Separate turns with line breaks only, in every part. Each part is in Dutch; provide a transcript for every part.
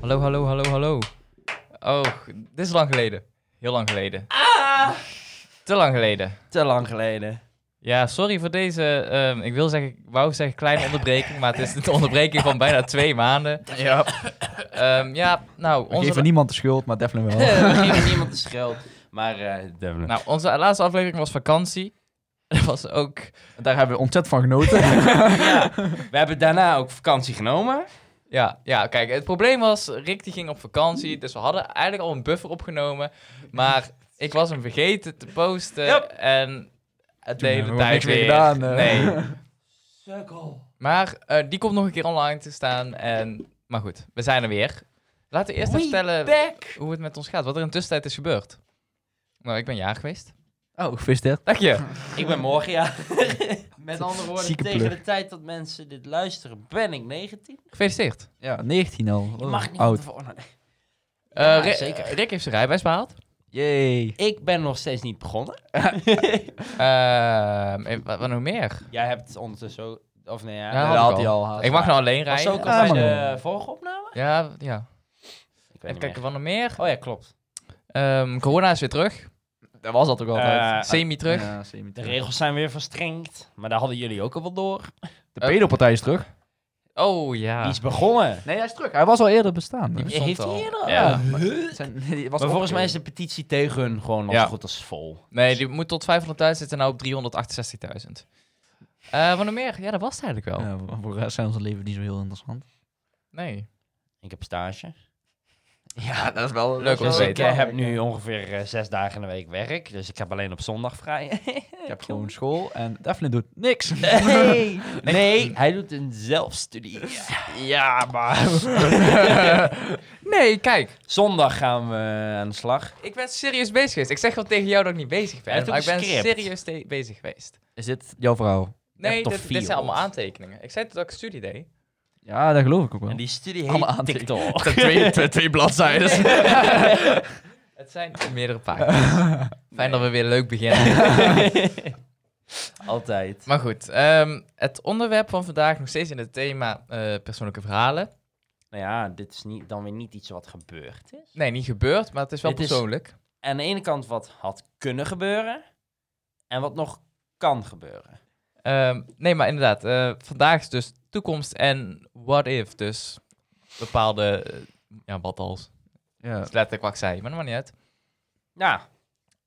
Hallo, hallo, hallo, hallo. Oh, dit is lang geleden. Heel lang geleden.
Ah!
Te lang geleden.
Te lang geleden.
Ja, sorry voor deze, ehm, ik wil zeggen, ik wou zeggen kleine onderbreking, maar het is de onderbreking van bijna twee maanden. Ja, ja nou,
We geven
onze,
niemand de schuld, maar Devlin wel.
We geven niemand de schuld. Maar eh Devlin.
nou, onze laatste aflevering was vakantie. Dat was ook,
Daar hebben we ontzettend van genoten.
ja, we hebben daarna ook vakantie genomen.
ja, ja, kijk, het probleem was, Rick die ging op vakantie, dus we hadden eigenlijk al een buffer opgenomen, maar ik was hem vergeten te posten
Yep.
en het
Toen
de hele
hebben we
tijd
niks meer
weer.
gedaan, eh.
Nee, Maar eh, die komt nog een keer online te staan. En, maar goed, we zijn er weer. Laten we eerst even vertellen hoe het met ons gaat. Wat er in de tussentijd is gebeurd. Nou, ik ben jaar geweest.
Oh, gefeliciteerd.
Dank je.
Ik ben morgen, ja. Met andere woorden,
Zieke
tegen
plug.
de tijd dat mensen dit luisteren, ben ik 19.
Gefeliciteerd.
Ja, 19 al.
Je mag niet oh,
Oud.
van tevoren-
Eh,
Ja,
Ri-
zeker.
Rick heeft zijn rijbewijs behaald.
Yay.
Ik ben nog steeds niet begonnen.
Ehm, en wat, wat nog meer?
Jij hebt het ondertussen ook... Of nee,
Ja,
ja.
Dat
had
had
ik
hij al.
ik mag nou alleen
was
rijden.
ook al
Ja,
bij
Ah, maar-
de vorige opname?
Ja, ja.
Ik weet
Even
niet
kijken, wat nog meer?
meer. Oh ja, klopt.
Ehm, corona is weer terug.
Dat was dat ook
Eh,
Semi terug.
Ja, semi
De
terug.
regels zijn weer verstrengd. Maar daar hadden jullie ook al wel door.
De pedopartij is terug.
Oh ja.
Die is begonnen.
Nee, hij is terug. Hij was al eerder bestaan.
Die-
hè?
bestond
Heeft hij
al.
eerder al?
Ja.
Maar, zijn- die was
Maar volgens mij is
opgegeven.
de petitie tegen hun gewoon al
Ja.
zo goed als vol.
Nee, die moet tot 500.000 zitten nou op 368.000. Eh wat nog meer? Ja, dat was het eigenlijk wel.
Ja,
oh.
voor- voor de rest zijn onze leven niet zo heel interessant.
Nee.
Ik heb stage.
Ja, dat is wel
Leuk om te
Dus
weten.
ik eh, heb nu ongeveer eh, zes dagen in de week werk. Dus ik heb alleen op zondag vrij.
Ik heb gewoon school en Devlin doet niks.
Nee, nee hij doet een zelfstudie. Ja, maar...
Nee, kijk.
Zondag gaan we eh, aan de slag.
Ik ben serieus bezig geweest. Ik zeg wel tegen jou dat ik niet bezig
Hij
ben,
heeft
maar ik
ook een
ben
script.
serieus te- bezig geweest.
Is dit jouw verhaal?
Nee,
toch
dit,
vier,
dit zijn allemaal
of?
aantekeningen. Ik zei dat ik studie deed.
Ja, dat geloof ik ook
En
wel.
die studie heet
Allemaal aan
TikTok.
bladzijden.
Het zijn meerdere pagina's. Fijn dat we weer leuk beginnen.
Altijd.
maar goed, ehm, het onderwerp van vandaag nog steeds in het thema eh, persoonlijke verhalen.
Nou ja, dit is niet, dan weer niet iets wat gebeurd is.
Nee, niet gebeurd, maar het is wel
Dit is-
persoonlijk.
Aan de ene kant wat had kunnen gebeuren. En wat nog kan gebeuren.
Ehm, nee, maar inderdaad. eh, vandaag is dus toekomst en what if. Dus bepaalde, eh, ja, wat als.
Ja.
Dat is letterlijk wat ik zei, maar dat maakt niet uit.
Nou,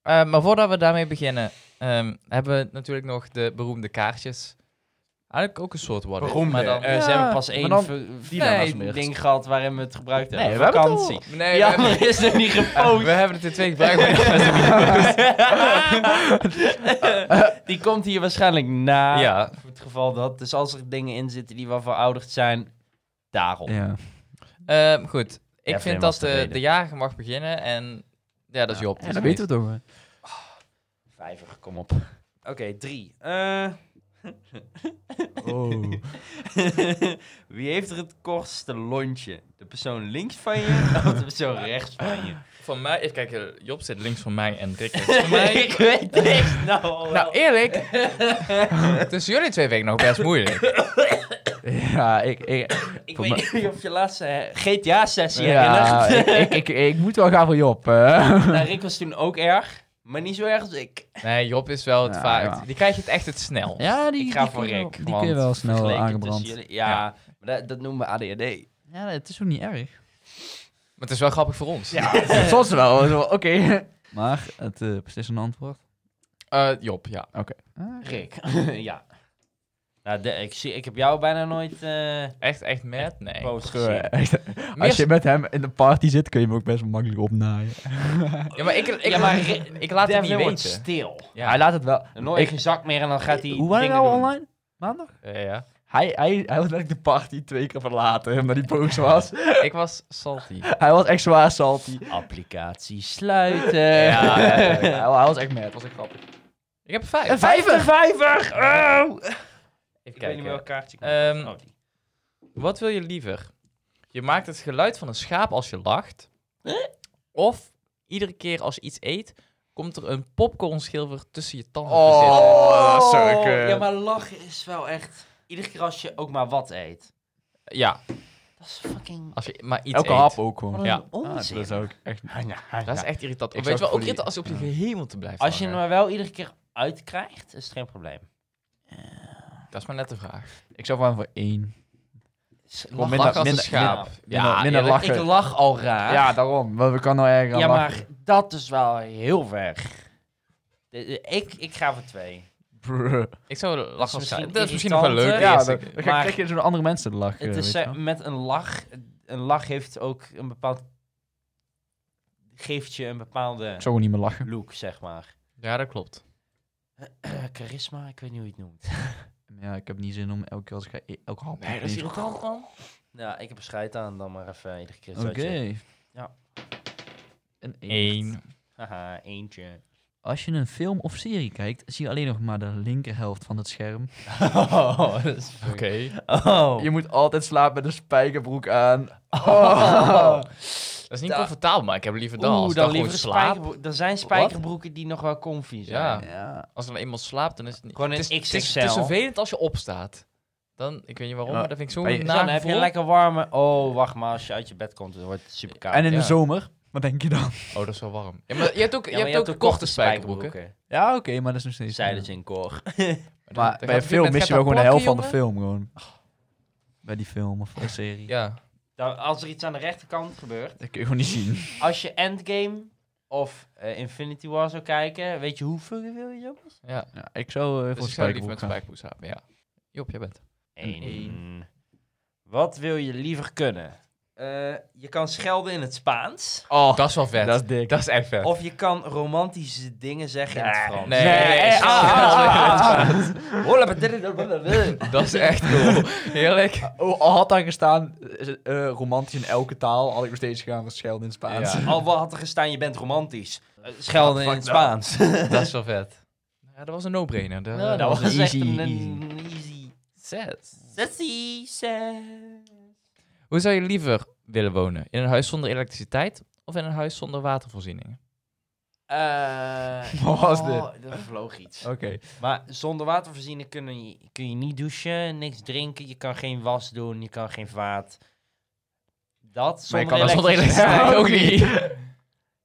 Eh, maar voordat we daarmee beginnen, ehm, hebben we natuurlijk nog de beroemde kaartjes. Eigenlijk ook een soort what if,
beroemde.
maar dan-
Eh,
Ja,
ze hebben pas
maar
één
dan-
ver-
die dan
nee,
alsjeblieft.
ding gehad waarin we het gebruikt hebben.
Nee, we hebben het al.
Vakantie.
nee,
ja,
we,
maar
hebben,
is er niet gepost.
we hebben het in twee gebruikt. maar dat is niet-
die komt hier waarschijnlijk na.
ja,
Voor het geval dat. Dus als er dingen in zitten die wel verouderd zijn, daarom.
ja.
Ehm, goed. Ik
Ja,
vind
vreemd
dat
was de
de,
reden.
de jager mag beginnen en ja, dat is Job.
Ja, dat weten we toch. hè?
Vijver, kom op. Oké, drie. Eh,
Oh.
wie heeft er het kortste lontje? De persoon links van je of de persoon rechts van je?
Van mij, even kijken, Job zit links van mij en Rick rechts van mij.
ik weet niks. Nou, al wel.
Nou, eerlijk. tussen jullie twee vind ik nog best moeilijk.
Ja, ik, ik,
ik
voor
weet
mij-
niet of je laatste eh, GTA-sessie
ja,
herinnert.
ik, ik, ik, ik moet wel gaan voor Job. eh.
Nou, Rick was toen ook erg, maar niet zo erg als ik.
Nee, Job is wel het
Ja,
vaak.
ja.
Die krijg je het echt het snel.
Ja, die,
ik ga
die
voor
kun je
Rick.
wel- Die
want
kun je wel snel
vergeleken
aangebrand.
tussen jullie- Ja, maar dat, dat noemen we ADHD.
Ja, het is ook niet erg.
Maar het is wel grappig voor ons.
Soms wel, zo, oké. Maar het eh, is een antwoord.
Eh, Job, ja.
Rick. ja. Nou, de- ik, zie, ik heb jou bijna nooit eh
Echt, echt mad? Nee.
post
Eh,
gezien.
echt.
Meer-
Als je met hem in de party zit, kun je hem ook best makkelijk opnaaien.
Ja, maar ik, ik,
Ja, maar
ik,
Rick-
laat het
Devlin
niet
wordt
weten.
stil.
Ja.
Hij laat het wel.
Dan hoor je
Ik-
geen zak meer en dan gaat hij
Hoe waren we
dingen
nou
doen.
online? Maandag?
Ja, ja.
Hij, hij, hij was net de party twee keer verlaten, omdat hij boos was.
Ik was salty.
hij was echt zwaar salty.
Applicatie sluiten.
Ja, ja, ja,
hij, hij was echt mad, was echt grappig.
Ik heb vijf.
Een vijver!
vijver! Oh!
Even
Ik weet
kijken.
niet welk kaartje ik
Ehm,
moet- oh, die.
Wat wil je liever? Je maakt het geluid van een schaap als je lacht. Of iedere keer als je iets eet, komt er een popcornschilver tussen je tanden te zitten.
Oh, dat zou ik, eh,
Ja, maar lachen is wel echt... Iedere keer als je ook maar wat eet.
Ja.
Dat is fucking...
Als je maar iets
Elke
eet.
hap ook gewoon.
Wat een
Ja.
Ah,
onzin.
dat zou ik echt...
Dat is echt irritant.
Ik
Weet je
zou
wel, ook
voor die-
irritant als je op je gehemelte blijft
Als je hem
hangen.
maar wel iedere keer uitkrijgt, is het geen probleem.
Dat is maar net de vraag.
Ik zou gewoon voor één.
Lach
minder-
als een
minder-
schaap.
minder- minder
eerlijk.
lachen.
Ik lach al raar.
Ja, daarom. Want we kan nou erger aan
Ah. Ja,
lachen.
maar dat is wel heel ver. De- de- Ik, ik ga voor twee.
Bruh.
Ik zou
is
lachen als een
misschien
schaap. Dat is misschien nog wel
irritant,
leuk.
hè?
Ja,
eerst.
dan, dan ga-
maar-
krijg je zo'n andere mensen te lachen.
Het is
weet je
eh,
wel.
met een lach. Een lach heeft ook een bepaald. geeft je een bepaalde
Ik zou gewoon niet meer lachen.
look, zeg maar.
Ja, dat klopt.
Charisma, ik weet niet hoe je het noemt.
Ja, ik heb niet zin om elke keer als ik ga e- elke hap.
Nee, dat is
opeens-
irritant, man.
Ja, ik heb een scheid aan, dan maar even iedere keer
Oké.
zoetje. Ja.
Ja. Een één.
Eén.
Haha, eentje.
Als je een film of serie kijkt, zie je alleen nog maar de linkerhelft van het scherm.
Oh, dat is
Oké.
Oh.
Je moet altijd slapen met een spijkerbroek aan.
Oh.
Dat is niet
Da-
comfortabel, maar ik heb liever dat.
Oeh,
als
dan
gewoon
liever
slaap.
spijkerbroek. Er zijn spijkerbroeken die nog wel comfy zijn.
Ja.
Ja.
Als er dan eenmaal slaapt, dan is het niet...
Gewoon een
het is, het is,
XXL.
het is vervelend als je opstaat. Dan, ik weet niet waarom,
Ja.
maar dat vind ik zo'n
Maar je-
Dus dan
naar
heb je een lekker warme... Oh, wacht maar. Als je uit je bed komt, dan wordt het super koud.
En in
Ja.
de zomer? Wat denk je dan?
Oh, dat is wel warm. Ja, maar je hebt ook, je hebt ook korte spijkerbroeken.
Ja, oké, maar dat is nog steeds...
Zeiden ze in koor.
Maar, dan- dan
Maar
gaat
bij
op
een film
gegeven
mis je
moment
wel gewoon de helft van de
gaat
film, gewoon. Bij die film of een
dat
serie.
plakken, jongen. Ja.
Dan, als er iets aan de rechterkant gebeurt...
Dat kun je gewoon niet zien.
Als je Endgame of eh, Infinity War zou kijken... Weet je hoe fucking wil je zo?
ja.
Ja, ik zou eh,
Dus
voor
ik zou liever
spijkerbroek
met
gaan.
spijkerbroek slapen, ja. Job, jij bent.
Een
Eén. Wat wil je liever kunnen? Eh, je kan schelden in het Spaans.
Oh, dat is wel vet.
Dat is dik.
Dat is echt vet.
Of je kan romantische dingen zeggen in het Frans.
Nee, nee,
ah, ah,
schelden in het
ah, ah. Hola, badada, badada.
Dat is echt cool. Heerlijk.
Oh, al had daar gestaan, eh, eh, romantisch in elke taal, had ik nog steeds gegaan voor schelden in het Spaans.
Ja.
Al wat had er gestaan, je bent romantisch. Eh, Schelden in het Spaans.
Dat is wel vet. Nou Ja, dat was een no-brainer. Dat,
Ja,
dat was een
echt
easy,
een easy.
Zet.
Sessie, ses.
Hoe zou je liever willen wonen? In een huis zonder elektriciteit of in een huis zonder watervoorzieningen?
Eh,
Wat was
oh, Er vloog iets.
Oké.
Maar zonder watervoorziening kun je, kun je niet douchen, niks drinken, je kan geen was doen, je kan geen vaat. Dat
Maar
zonder
je kan
Maar zonder
elektriciteit
elektriciteit
ook.
ook niet.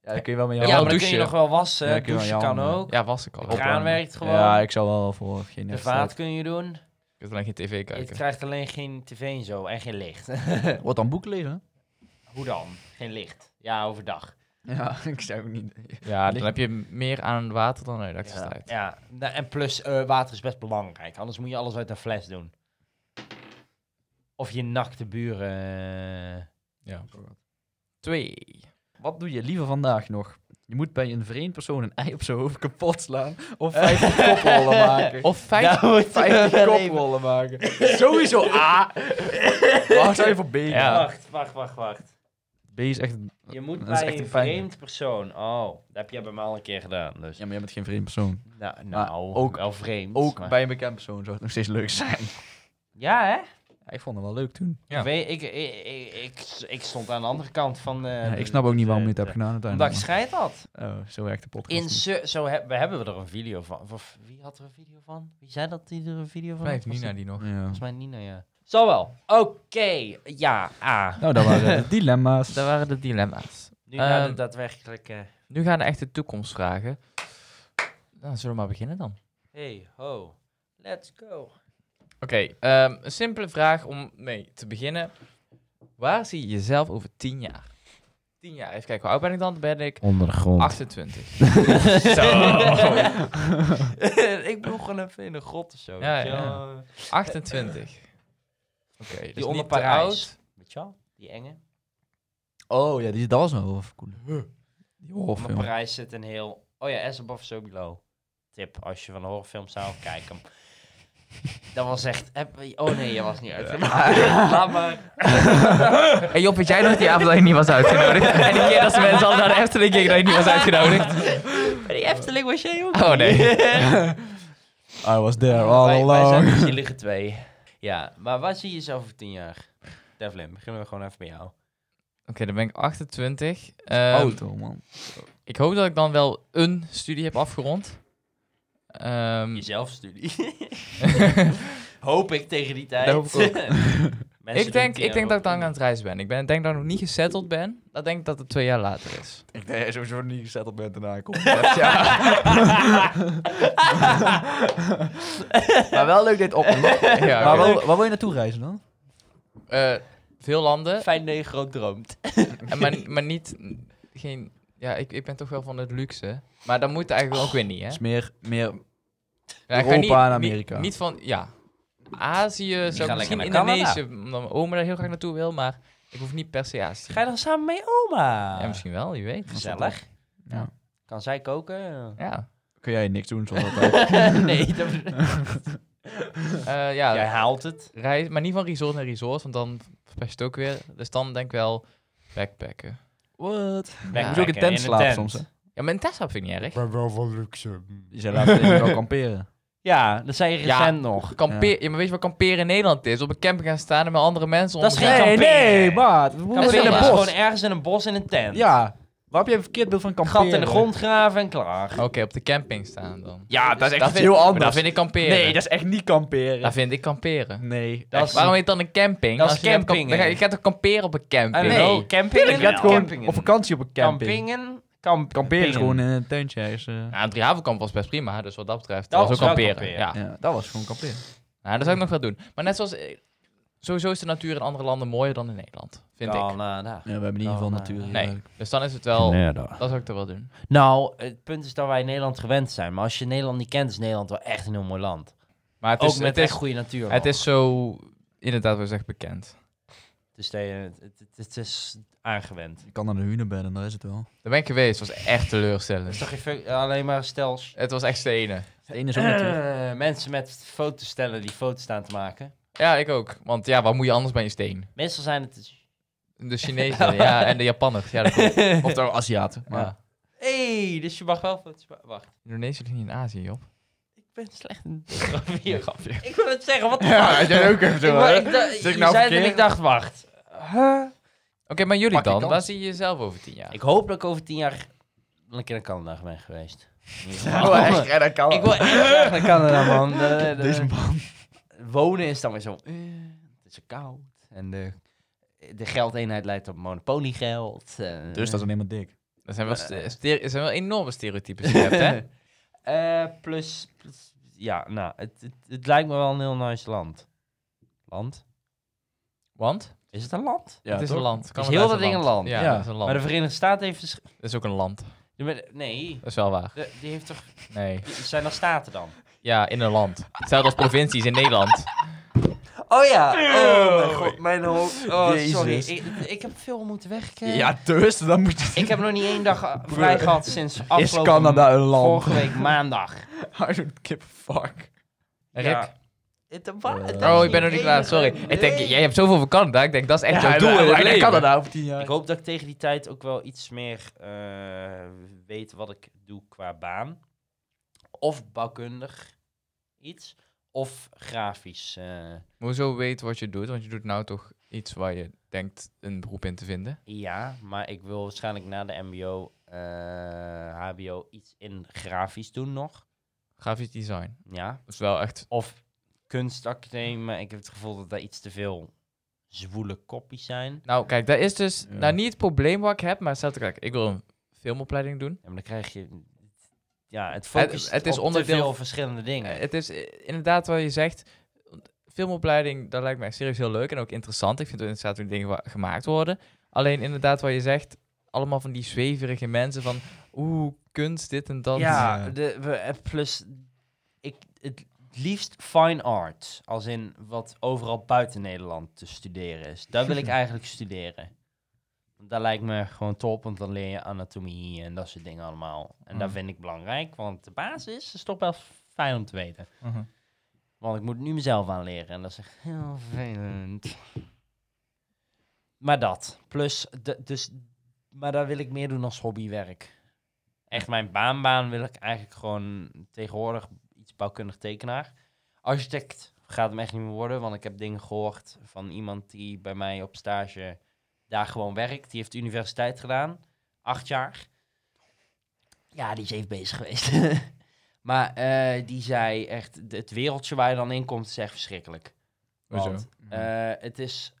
Ja, dan kun je wel met
Ja,
jou.
wel
maar dan kun je
douchen.
nog wel wassen,
Ja, kun je wel
douchen
je
kan
handen-
ook.
Ja, was ik al.
De
Ik
kraan werkt gewoon,
Ja, ik zou wel voor geen
de
elektriciteit.
vaat kun je doen.
heb alleen geen tv
Je
kijken.
krijgt alleen geen tv en zo en geen licht.
Wat dan boeken lezen?
Hoe dan? Geen licht. Ja, overdag.
Ja, ik zou ook niet.
Ja, dan heb je meer aan water dan aan elektriciteit.
Ja, nou, en plus eh, water is best belangrijk. Anders moet je alles uit een fles doen. Of je nakte buren. eh,
Twee.
Wat doe je liever vandaag nog? Je moet bij een vreemd persoon een ei op zijn hoofd kapot slaan. Of 50 koprollen maken. Of
Of vijf.
daar Nou, moet je
50
wel even-
koprollen maken. Sowieso A. Waar zou je voor B
Ja.
gaan?
Wacht, wacht, wacht, wacht.
B is echt...
Je moet
Dat is
bij
echt
een
een fijne.
vreemd persoon. Oh, dat heb jij bij mij al een keer gedaan. Dus.
Ja, maar jij bent geen vreemd persoon.
Nou,
Maar
nou ook,
ook-
wel vreemd.
Ook
maar-
bij een bekend persoon zou het nog steeds leuk zijn.
Ja, hè?
ik vond het wel leuk toen.
Ja.
Ik Weet, ik, ik, ik, ik, ik stond aan de andere kant van... eh, de-
ik snap ook niet waarom je het
de-
hebt gedaan
Omdat ik scheid
uiteindelijk.
had.
Oh, zo werkt de podcast
In Sur- zo heb- we hebben we er een video van. Of wie had er een video van? Wie zei dat die er een video van
Mij
had?
heeft
Was
Nina
het-
die nog.
Ja.
Volgens mij Nina, ja. Zal wel. Oké, ja, ah.
Nou, dat waren de dilemma's.
Dat waren de dilemma's.
Nu gaat
Ehm,
het daadwerkelijk... eh,
Nu gaan we echt de toekomstvragen. Dan zullen we maar beginnen dan.
hey, ho, let's go.
Oké, ehm, een simpele vraag om mee te beginnen. Waar zie je jezelf over 10 jaar? 10 jaar, even kijken, hoe oud ben ik dan? Dan ben ik
Onder de grond.
28.
ik bedoel gewoon even in de grot of zo.
Ja,
weet je
ja.
wel.
28. Oké, dus
onder
niet te
Parijs.
oud.
Weet je wel? Die enge.
Oh ja, die, dat was nou wel even cool. Die
Onder
horrorfilm.
Parijs zit een heel... Oh ja, As Above, So Below. Tip, als je van een horrorfilm zou kijken. Dat was echt... heb- Oh nee, je was niet uit. Laat maar.
Hey Job, weet jij nog die avond dat je niet was uitgenodigd? en die keer dat ze mensen al naar de Efteling gingen dat je niet was uitgenodigd?
Bij die Efteling was jij ook
Oh nee.
I was there all
Wij, wij zijn
along.
de zielige twee. Ja, maar waar zie je jezelf over tien jaar? Devlin, beginnen we gewoon even bij jou.
Oké, dan ben ik 28. Ehm,
Auto, man.
Ik hoop dat ik dan wel een studie heb afgerond. Ehm,
Jezelf studie. hoop ik tegen die tijd.
Dat hoop ik ook.
Mensen
ik
doen
denk,
tien
ik denk
en
dat ik dan aan het reizen ben. Ik ben, denk dat ik nog niet gesetteld ben. Dat denk ik dat het twee jaar later is.
Ik denk dat jij sowieso niet gezetteld bent daarna komt. maar wel leuk dit op.
Ja,
Maar
oké.
waar, waar wil je naartoe reizen dan?
Eh, veel landen,
Fijn negro ook droomt.
en maar, maar niet... Geen, ja, ik, ik ben toch wel van het luxe. Maar dat moet eigenlijk ook weer niet, hè?
Is meer, meer
Ja, ik ga niet-
Europa en
niet-
Amerika.
Niet, van, ja. Azië zou ik
lekker
misschien
naar Canada.
Indonesië, omdat mijn oma daar heel graag naartoe wil, maar ik hoef niet per se Azië.
Ga je dan samen mee oma?
Ja, misschien wel, je weet.
Gezellig.
Ja.
Kan zij koken?
Ja.
kun jij niks doen zonder dat.
nee, dat...
Eh, ja,
Jij haalt het.
reis, maar niet van resort naar resort, want dan verpest je het ook weer. Dus dan denk ik wel backpacken.
What? Je moet
Backpacken
ook Ah, in tent slapen soms. Hè?
Ja, maar een Tesla vind ik niet erg.
ben wel van luxe.
Je zei laatst even wel kamperen.
Ja, dat zei je
Ja.
recent nog.
Kampeer, ja. maar weet je wat kamperen in Nederland is? Op een camping gaan staan en met andere mensen
Dat is
onderweg.
geen kamperen.
maat. We
Kamperen
Kamperen
in
is
het
gewoon ergens in een bos in een tent.
Ja. Waar heb je een verkeerd beeld van kamperen?
Gat in de grond graven en klaar.
Oké, op de camping staan dan.
Ja, dat is echt
Dat vind,
heel
maar
anders.
Dat vind ik kamperen.
nee, dat is echt niet kamperen.
Dat vind ik kamperen.
nee.
Dat
Dat
is-
Waarom heet het dan een camping?
Dat is
Als je gaat
campingen.
kamp- dan ga- Je gaat toch kamperen op een camping? Oh.
I know. Oh, Campingen?
je gaat gewoon
Ah, Campingen.
op vakantie op een camping.
Campingen? Kamp
Kamperen is gewoon in een tuintje. Is, eh,
Nou, Driehavenkamp was best prima, dus wat dat betreft dat
Dat
was ook
was wel
kamperen.
kamperen.
Ja.
ja, dat was gewoon kamperen.
Nou, dat zou ik nog wel doen. Maar net zoals... eh, Sowieso is de natuur in andere landen mooier dan in Nederland, vind ik.
Ja, we hebben in ieder geval
Oh,
natuur. eh,
nee.
Nee, dus dan is het wel... Dat zou ik toch wel doen.
Nou, het punt is dat wij Nederland gewend zijn. Maar als je Nederland niet kent, is Nederland wel echt een heel mooi land.
Maar het
Ook
is,
met
het
echt
is,
goede natuur.
het is zo... Inderdaad, we zeggen bekend.
Dus dat je- het, het, het is aangewend.
Je kan naar de hunebed en daar is het wel.
Daar ben ik geweest, het was echt
Dus
teleurstellend.
toch geen fuck- alleen maar stels.
Het was echt stenen.
Het ene is ook natuur.
Eh, mensen met foto's stellen die foto's staan te maken.
Ja, ik ook. Want ja, wat moet je anders bij een steen?
Meestal zijn het... dus-
De Chinezen ja, en de Japanners. Ja, dat klopt.
Of daar Aziaten. Maar
Ja.
Hé, hey, dus je mag wel foto's ma- Wacht,
Indonesië ligt niet in Azië, joh.
ik ben slecht in geografie.
grapje.
Ik wil het zeggen, wat de fuck?
jij ook even
Ik, wa- ik da-
Zeg
je
ik nou
zei het en
verkeerd?
ik dacht, wacht. Huh?
Oké, maar jullie
Pak je
dan?
kans.
Waar zie je jezelf over tien jaar?
Ik hoop dat ik over tien jaar wel een keer naar Canada ben geweest. In ieder geval.
Oh, echt? Ja, dat kan.
Ik wil echt graag naar Canada, man. De- de-
Deze man.
wonen is dan weer zo... eh, het is zo koud. En de, de geldeenheid leidt tot monopoliegeld. eh.
Dus dat is alleen maar dik.
Dat zijn wel, ste- stere- dat zijn wel enorme stereotypes die je hebt, hè?
Eh, plus, plus- Ja, nou, het, het, het lijkt me wel een heel nice land. Land?
Want?
Is het een land?
Ja,
het is een land.
Is
Canada
heel dat ding een land?
Ja,
Ja.
dat is een land.
Maar de Verenigde Staten heeft... dus versch-
Dat is ook een land.
Ja, maar- Nee,
Dat is wel waar.
de- die heeft toch...
Nee.
die Zijn er staten dan?
Ja, in een land. Hetzelfde als provincies in Nederland.
Oh ja. Oh, mijn god, mijn hoofd. Oh, sorry.
Jezus.
Ik, ik heb veel moeten werken.
Ja, dus dan moet je...
Ik heb nog niet één dag eh, vrij gehad sinds afgelopen...
Canada een land?
Vorige week maandag.
I don't give a fuck.
Rick.
Ja. Het- wat?
Eh.
Dat is
Oh, ik
niet
ben nog niet
één
klaar.
dag.
Sorry. Ik denk,
Nee.
jij hebt zoveel van Canada. Ik denk, dat is echt jouw doel in het leven.
Canada nou over tien jaar.
Ik hoop dat ik tegen die tijd ook wel iets meer eh, weet wat ik doe qua baan. Of bouwkundig iets. Of grafisch. eh,
Maar hoezo weet wat je doet? Want je doet nou toch iets waar je denkt een beroep in te vinden.
ja, maar ik wil waarschijnlijk na de mbo, eh, hbo iets in grafisch doen nog.
Grafisch design.
Ja.
Dat is wel echt...
Of kunstacademie, maar ik heb het gevoel dat daar iets te veel zwoele koppies zijn.
Nou, kijk, dat is dus...
Ja.
Nou, niet het probleem wat ik heb, maar stel te kijken. Ik wil een filmopleiding doen.
En dan krijg je... Ja, het
Het-
focust
het is
op
onderdeel-
te veel verschillende dingen.
Eh, Het is eh, inderdaad wat je zegt. Filmopleiding, dat lijkt mij serieus heel leuk en ook interessant. Ik vind het inderdaad hoe die dingen wa- gemaakt worden. Alleen inderdaad wat je zegt, allemaal van die zweverige mensen van... Oeh, kunst, dit en dat.
ja,
Ja.
de, we- eh, plus ik, het liefst fine art. Als in wat overal buiten Nederland te studeren is. Dat wil ik eigenlijk studeren. Dat lijkt me gewoon top, want dan leer je anatomie en dat soort dingen allemaal. En dat
Mm.
vind ik belangrijk, want de basis is toch wel fijn om te weten.
Mhm.
Want ik moet nu mezelf aanleren en dat is echt heel vervelend. Maar dat. Plus, de, dus, maar daar wil ik meer doen als hobbywerk. Echt mijn baanbaan wil ik eigenlijk gewoon tegenwoordig iets bouwkundig tekenaar. Architect gaat hem echt niet meer worden, want ik heb dingen gehoord van iemand die bij mij op stage daar gewoon werkt. Die heeft universiteit gedaan, acht jaar. Ja, die is even bezig geweest. Maar eh, die zei echt, d- het wereldje waar je dan in komt is echt verschrikkelijk.
Hoezo?
Want eh, het is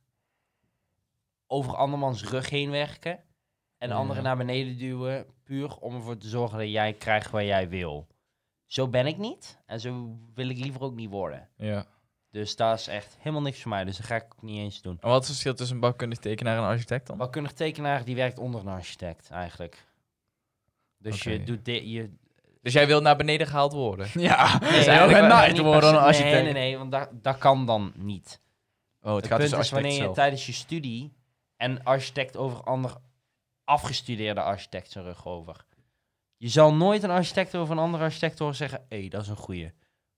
over andermans rug heen werken en
Ja.
anderen naar beneden duwen, puur om ervoor te zorgen dat jij krijgt wat jij wil. Zo ben ik niet en zo wil ik liever ook niet worden.
Ja.
Dus daar is echt helemaal niks voor mij, dus dat ga ik ook niet eens doen.
En wat is het verschil tussen een bouwkundig tekenaar en een architect dan?
Bouwkundig tekenaar die werkt onder een architect eigenlijk. Dus je
Oké.
doet dit, je
Dus jij wil naar beneden gehaald worden?
Ja,
Nee,
zijn ook
nee,
een
maar
night
niet
worden
per se-
dan als je
Nee,
denkt-
nee, nee, want dat, dat kan dan niet.
Oh,
Het, punt is wanneer je tijdens je studie en architect over ander afgestudeerde architect zijn rug over. Je zal nooit een architect over een andere architect horen zeggen, hé, dat is een goeie.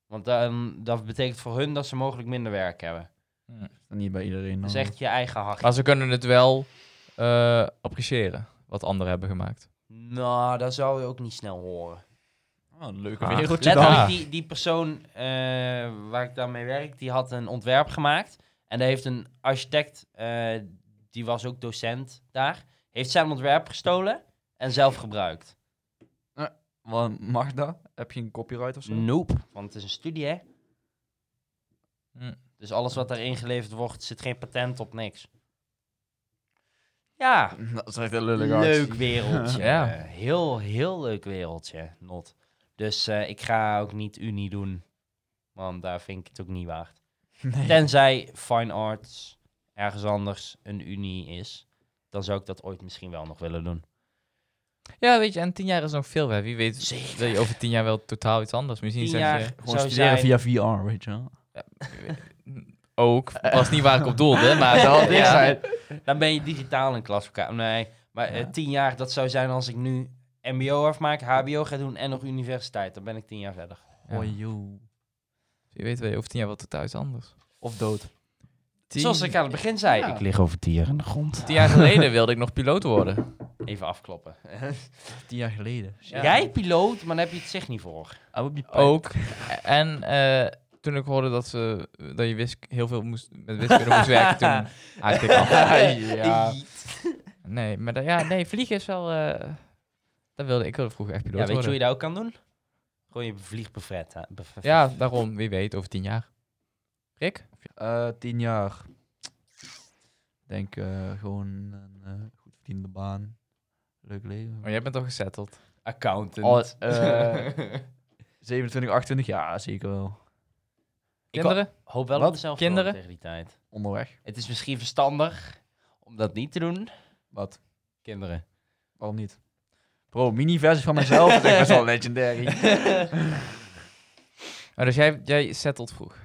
Want dan, dat betekent voor hun dat ze mogelijk minder werk hebben.
Niet bij iedereen.
Dat is
dan.
echt je eigen hachje.
Maar ze kunnen het wel eh, appreciëren, wat anderen hebben gemaakt.
Nou, dat zou je ook niet snel horen.
Oh, een leuke
Ah.
wereldje dan.
Letterlijk,
dan?
die, die persoon eh, waar ik daarmee werk, die had een ontwerp gemaakt. En daar heeft een architect, eh, die was ook docent daar, heeft zijn ontwerp gestolen en zelf gebruikt. Ah.
Want mag dat? Heb je een copyright of zo?
Nope. Want het is een studie, hè?
Hm.
Dus alles wat daar ingeleverd wordt, zit geen patent op, niks. Ja,
Dat is echt een lullig
leuk wereldje.
Ja.
Eh, heel, heel leuk wereldje, Not. Dus eh, ik ga ook niet Unie doen. Want daar vind ik het ook niet waard.
Nee.
Tenzij Fine Arts ergens anders een unie is, dan zou ik dat ooit misschien wel nog willen doen.
Ja, weet je, en tien jaar is nog veel. Hè. Wie weet
Zeker.
wil je over tien jaar wel totaal iets anders. Misschien
Tien
zeg
jaar
je
Gewoon
zou
studeren
zijn...
via VR, weet je wel.
ook, was niet waar ik op doelde, maar dat had ik
Ja.
zijn.
Dan ben je digitaal in klas elkaar. Nee, maar eh,
Ja.
tien jaar, dat zou zijn als ik nu mbo afmaak, hbo ga doen en nog universiteit. Dan ben ik tien jaar verder.
Ja. Je weet wel, je over tien jaar wel totaal iets anders.
Of dood.
Tien,
Zoals ik aan het begin zei.
Ja.
Ik lig over tien jaar in de grond.
tien jaar geleden wilde ik nog piloot worden.
Even afkloppen.
Tien jaar geleden.
Ja.
Jij piloot, maar daar heb je het zich niet voor.
Oh,
Oh.
I would be proud.
Ook. En eh, toen ik hoorde dat, ze, dat je wisk, heel veel moest, met wiskunde moest werken, toen haakte ik af.
ja.
Nee, maar dat- ja, nee, vliegen is wel. eh dat wilde ik wilde vroeger echt
Ja,
piloot
weet je hoe
worden.
je dat ook kan doen? Gewoon je vliegbevet. hè? Bev-
ja, daarom, wie weet, over tien jaar. Rick?
Eh, tien jaar. Denk eh, gewoon een eh, goed verdiende baan. Leuk leven.
Maar jij bent al gezetteld.
Accountant.
Oh, eh, 27, 28 jaar, zeker wel.
Ik ho-
Kinderen?
hoop wel
Wat?
op dezelfde
Kinderen?
tegen die tijd.
Onderweg.
Het is misschien verstandig om dat niet te doen.
Wat?
Kinderen.
Waarom niet? Bro, mini-versie van mezelf is echt best wel legendary.
Maar dus jij, jij zettelt vroeg.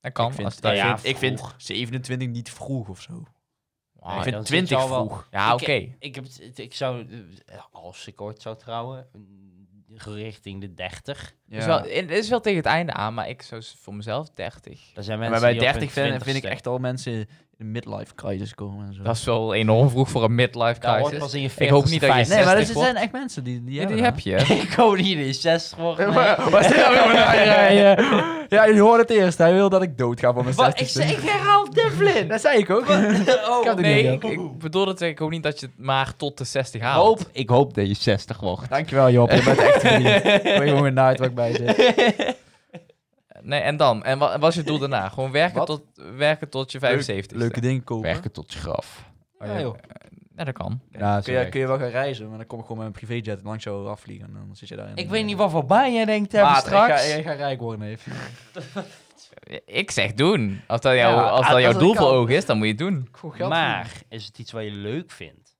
Dat kan.
ik vind,
als dat...
ja,
ik, vind, ik vind
vroeg.
27 niet vroeg of zo.
Ah,
Nee,
ik
dan zit
vind
je
20
al wel-
vroeg.
Ja,
Ik-
oké.
Ik, heb het- ik zou, eh, als ik ooit zou trouwen, mm, richting de 30.
Dus wel- en Het is wel tegen het einde aan, maar ik zo s- voor mezelf 30.
Er zijn
Ja,
mensen
maar bij
die op
30
hun
vind, vind ik
20ste
echt al mensen in een midlife crisis komen en zo.
Dat is wel enorm vroeg voor een midlife
Daar hoort
crisis.
pas in je
Nou, Ik hoop niet dat je
40ste,
nee, maar dat
60
zijn echt mensen die die,
Ja,
hebben
die heb
dat.
je.
50ste. Ik hoop niet in je 60 wordt. nee.
Waar zit dat weer voor naaien? Ja, je hoort het eerst. Hij wil dat ik dood ga voor mijn
Wat? Ik,
60
zei- ik herhaal Devlin.
Dat zei ik ook.
Oh,
Kan
Nee,
niet,
ik, ik bedoel dat ik hoop niet dat je het maar tot de 60
ik
haalt.
hoop, ik hoop dat je 60 wordt.
Dankjewel, Job. Je bent echt vriend. Ik ben gewoon naait wat ik bij zit.
Nee, en dan? En wat was je doel daarna? Gewoon werken,
Wat?
tot, werken tot je 75
Leuke dingen kopen.
Werken tot graf.
Oh, ja, Ja, dat kan.
Ja,
Kun je, kun je wel gaan reizen, maar dan kom ik gewoon met een privéjet langs jou afvliegen en dan zit je daar in.
Ik weet niet wat voor baan jij denkt te hebben
Maat,
straks.
Ik ga, ik ga rijk worden, neef.
Ik zeg doen. Als dat, jou,
Ja,
als
ah,
dat jouw
dat
doel
kan.
voor ogen is, dan moet je het doen.
Gewoon geld verdienen.
maar is het iets wat je leuk vindt?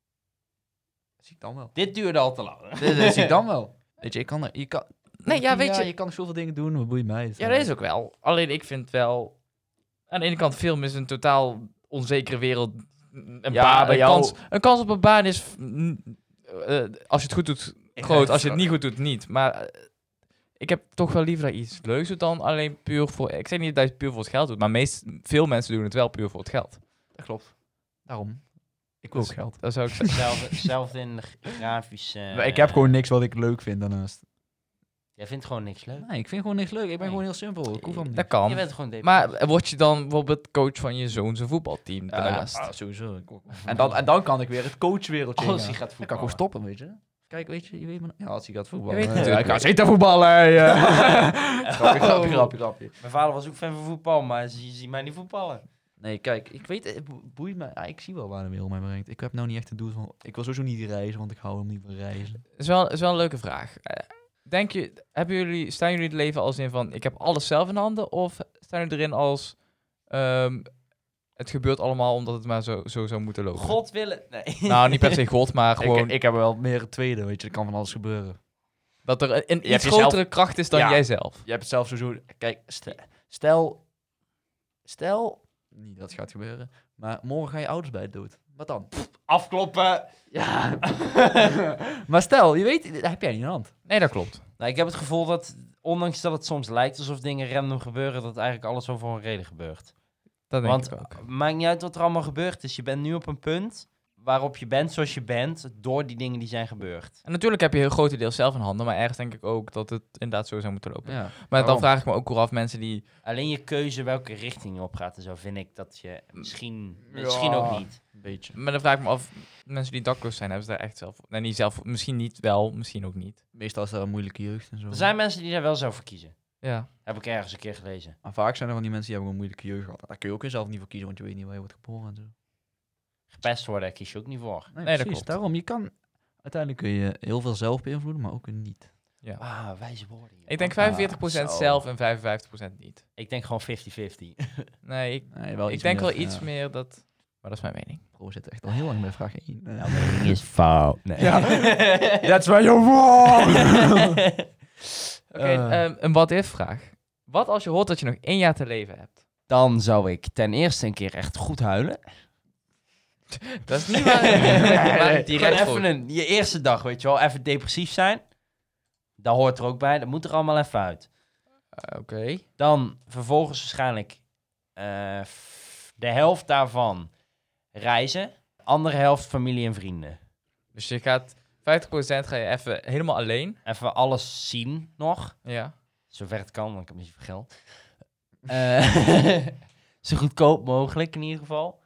Dat zie ik dan wel.
Dit duurde al te lang.
Dat dat zie ik dan wel. Weet je, ik kan... er- Je kan
Nee, ja, weet je.
Je kan zoveel dingen doen, wat boeit mij. het?
Ja, dat is ook wel. Alleen ik vind wel... Aan de ene kant, film is een totaal onzekere wereld. Een,
Ja,
baan,
bij
een,
jou-
kans, een kans op een baan is... f- n- eh, als je het goed doet, groot. Als je het niet goed doet, niet. Maar eh, ik heb toch wel liever dat je iets leuks doet dan alleen puur voor... Ik zeg niet dat je het puur voor het geld doet, maar meest, veel mensen doen het wel puur voor het geld.
Dat klopt. Daarom. Ik wil ook
Dus-
geld.
Dat zou ik zeggen.
Zelfde, zelfde in de g- grafische...
Maar ik heb gewoon niks wat ik leuk vind daarnaast.
Jij vindt gewoon niks leuk.
Nee, ik vind gewoon niks leuk. Ik ben
Nee.
gewoon heel simpel. Ik hoef
Dat
hem niet.
Je
kan.
bent gewoon depri-
Maar word je dan bijvoorbeeld coach van je zoon's voetbalteam
Ja,
daarnaast?
ah, sowieso. Ik ook. En dan, en dan kan ik weer het coachwereldje
Als
ingaan.
hij gaat
Dan kan ik
voetballen.
gewoon stoppen, weet je. Kijk, weet je, je weet maar... Ja, als hij gaat voetballen.
Je weet
eh,
natuurlijk.
hij gaat zeker voetballen. hè, eh. grapje, grapje, grapje, grapje.
Mijn vader was ook fan van voetbal, maar ze ziet mij niet voetballen.
Nee, kijk, ik weet, het bo- boeit me. Ja, ik zie wel waar de wereld mij brengt. Ik heb nou niet echt het doel van. Ik wil sowieso niet reizen, want ik hou hem niet van reizen.
is wel, is wel een leuke vraag. Eh, Denk je, hebben jullie, staan jullie het leven als in van ik heb alles zelf in handen? Of staan jullie erin als ehm, het gebeurt allemaal omdat het maar zo, zo zou moeten lopen?
God willen. Nee.
Nou, niet per se God, maar gewoon
Ik, ik heb wel meer het tweede, weet je, er kan van alles gebeuren.
dat er een- een
hebt
iets
jezelf-
grotere kracht is dan
Ja.
jijzelf.
Je hebt het zelf sowieso. Kijk, stel. Stel. stel niet dat het gaat gebeuren, maar morgen gaan je ouders bij het dood. Wat dan?
Afkloppen.
Ja. maar stel, je weet, dat heb jij niet in de hand.
Nee, dat klopt.
Nou, ik heb het gevoel dat, ondanks dat het soms lijkt alsof dingen random gebeuren, dat eigenlijk alles wel voor een reden gebeurt.
Dat denk
Want
ik ook.
maakt niet uit wat er allemaal gebeurd is. Je bent nu op een punt waarop je bent zoals je bent, door die dingen die zijn gebeurd.
En natuurlijk heb je heel grote deel zelf in handen, maar ergens denk ik ook dat het inderdaad zo zou moeten lopen.
Ja.
Maar dan
Waarom?
vraag ik me ook wel af mensen die
Alleen je keuze welke richting je op gaat en zo vind ik dat je misschien, misschien ook niet.
Een beetje.
Maar dan vraag ik me af, mensen die dakloos zijn, hebben ze daar echt zelf... Nee, niet zelf, misschien niet wel, misschien ook niet.
Meestal is dat een moeilijke jeugd en zo.
Er zijn mensen die daar wel zo voor kiezen.
Ja.
Heb ik ergens een keer gelezen.
Maar vaak zijn er van die mensen die hebben een moeilijke jeugd gehad. Daar kun je ook zelf niet voor kiezen, want je weet niet waar je wordt geboren en zo.
Gepest worden, daar kies je ook niet voor.
Nee,
dat
precies.
klopt.
Daarom, je kan... Uiteindelijk kun je heel veel zelf beïnvloeden, maar ook weer niet.
Ah, wijze woorden. joh.
Ik denk 45%
zo.
zelf en 55% niet.
Ik denk gewoon 50-50.
Nee, ik,
Nee, wel
ik
iets
denk
meer,
wel iets
ja.
meer dat... Maar dat is mijn mening.
Bro zit echt al heel lang bij vraag 1.
is fout. Nee.
That's why you're wrong!
Oké,
Eh.
ehm, een wat-if vraag. Wat als je hoort dat je nog één jaar te leven hebt?
Dan zou ik ten eerste een keer echt goed huilen.
Dat is niet waar. maar
Maar
direct
even een, je eerste dag, weet je wel, even depressief zijn. Dat hoort er ook bij, dat moet er allemaal even uit.
Oké.
Dan vervolgens waarschijnlijk eh, f- de helft daarvan reizen. Andere helft familie en vrienden.
Dus je gaat... 50% ga je even helemaal alleen.
Even alles zien nog,
Ja.
zover het kan, want ik heb niet zoveel geld. Eh, zo goedkoop mogelijk in ieder geval.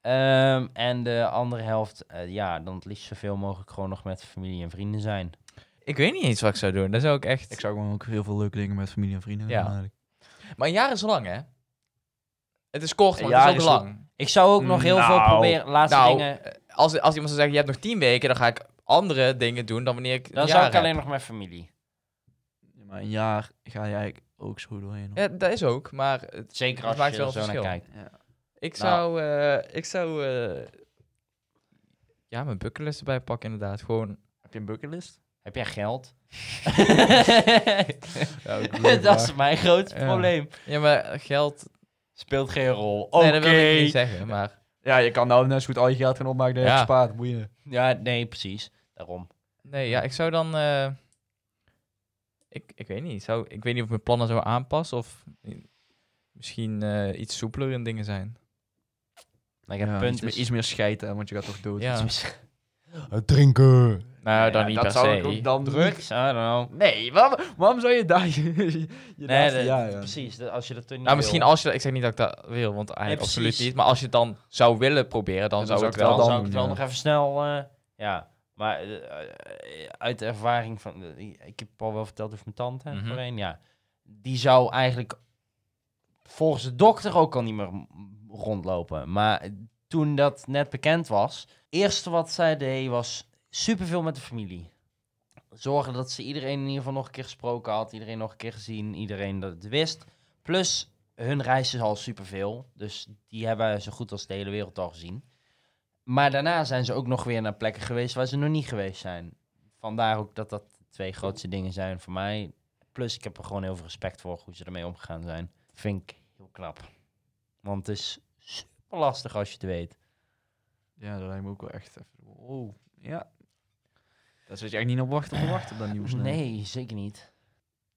Ehm, en de andere helft, eh, ja, dan het liefst zoveel mogelijk gewoon nog met familie en vrienden zijn.
Ik weet niet eens wat ik zou doen. Dat zou ik echt...
ik zou gewoon ook heel veel leuke dingen met familie en vrienden
Ja.
doen eigenlijk.
Maar een jaar is lang, hè? Het is kort, maar
Een jaar
het is
is
ook lang.
Ik zou ook nog heel veel
Nou,
proberen. Laatste
nou,
dingen.
Als, als iemand zou zeggen, je hebt nog tien weken, dan ga ik andere dingen doen dan wanneer ik
Dan
een
zou
jaar
ik alleen
heb.
nog mijn familie.
Ja, Maar een jaar ga je eigenlijk ook zo doorheen. hoor.
Ja, dat is ook, maar het-
Zeker
Dat
als
maakt
je
wel
er zo
verschil.
naar kijkt.
Ja.
ik
Nou.
zou... eh, ik zou eh, ja, mijn bucketlist erbij pakken inderdaad. Gewoon...
Heb je een bucketlist?
Heb jij geld?
Ja, ook een leuke
dat is
vraag.
mijn grootste
Ja.
probleem.
Ja, maar geld...
Speelt geen rol. Oké.
Nee, dat wil ik niet zeggen, maar...
Ja, je kan nou net zo goed al je geld gaan opmaken dat je
Ja.
hebt gespaard. Boeien.
Ja, nee, precies. Daarom.
Nee, ja, ik zou dan... eh, ik, ik weet niet. Zou, ik weet niet of ik mijn plannen zou aanpassen of... Misschien eh, iets soepeler in dingen zijn.
Ik heb
Ja,
punt
iets, meer,
is-
iets meer scheiden, want je gaat toch dood.
Ja.
Drinken.
Nou, dan
Ja,
niet
Eh, dat
per
zou
se.
ik ook dan
drugs. I don't know.
Nee, waarom, waarom zou je daar je, je
Nee,
laatste
dat-
jaar aan-
precies. dat- als je dat toen niet
Nou, misschien
wil,
als je... Ik zeg niet dat ik dat wil, want eigenlijk
Nee,
absoluut
precies.
niet. Maar als je het dan zou willen proberen, dan,
Ja, dan
zou
zou
het
ik
wel...
dan,
wel dan
zou ik het wel
doen,
nog even snel... eh, ja, maar eh, eh, uit de ervaring van... eh, ik heb al wel verteld over mijn tante
Mhm.
voorheen, ja. Die zou eigenlijk volgens de dokter ook al niet meer m- rondlopen. Maar toen dat net bekend was, eerste wat zij deed was superveel met de familie. Zorgen dat ze iedereen in ieder geval nog een keer gesproken had, iedereen nog een keer gezien, iedereen dat het wist. Plus, hun reis is al superveel, dus die hebben zo goed als de hele wereld al gezien. Maar daarna zijn ze ook nog weer naar plekken geweest waar ze nog niet geweest zijn. Vandaar ook dat dat de twee grootste dingen zijn voor mij. Plus, ik heb er gewoon heel veel respect voor hoe ze ermee omgegaan zijn. Vind ik heel knap. Want het is super lastig als je het weet.
Ja, dat lijkt me ook wel echt even. Oh, ja. Daar zit je echt niet op wachten op te wachten op dat nieuws.
Nee, zeker niet.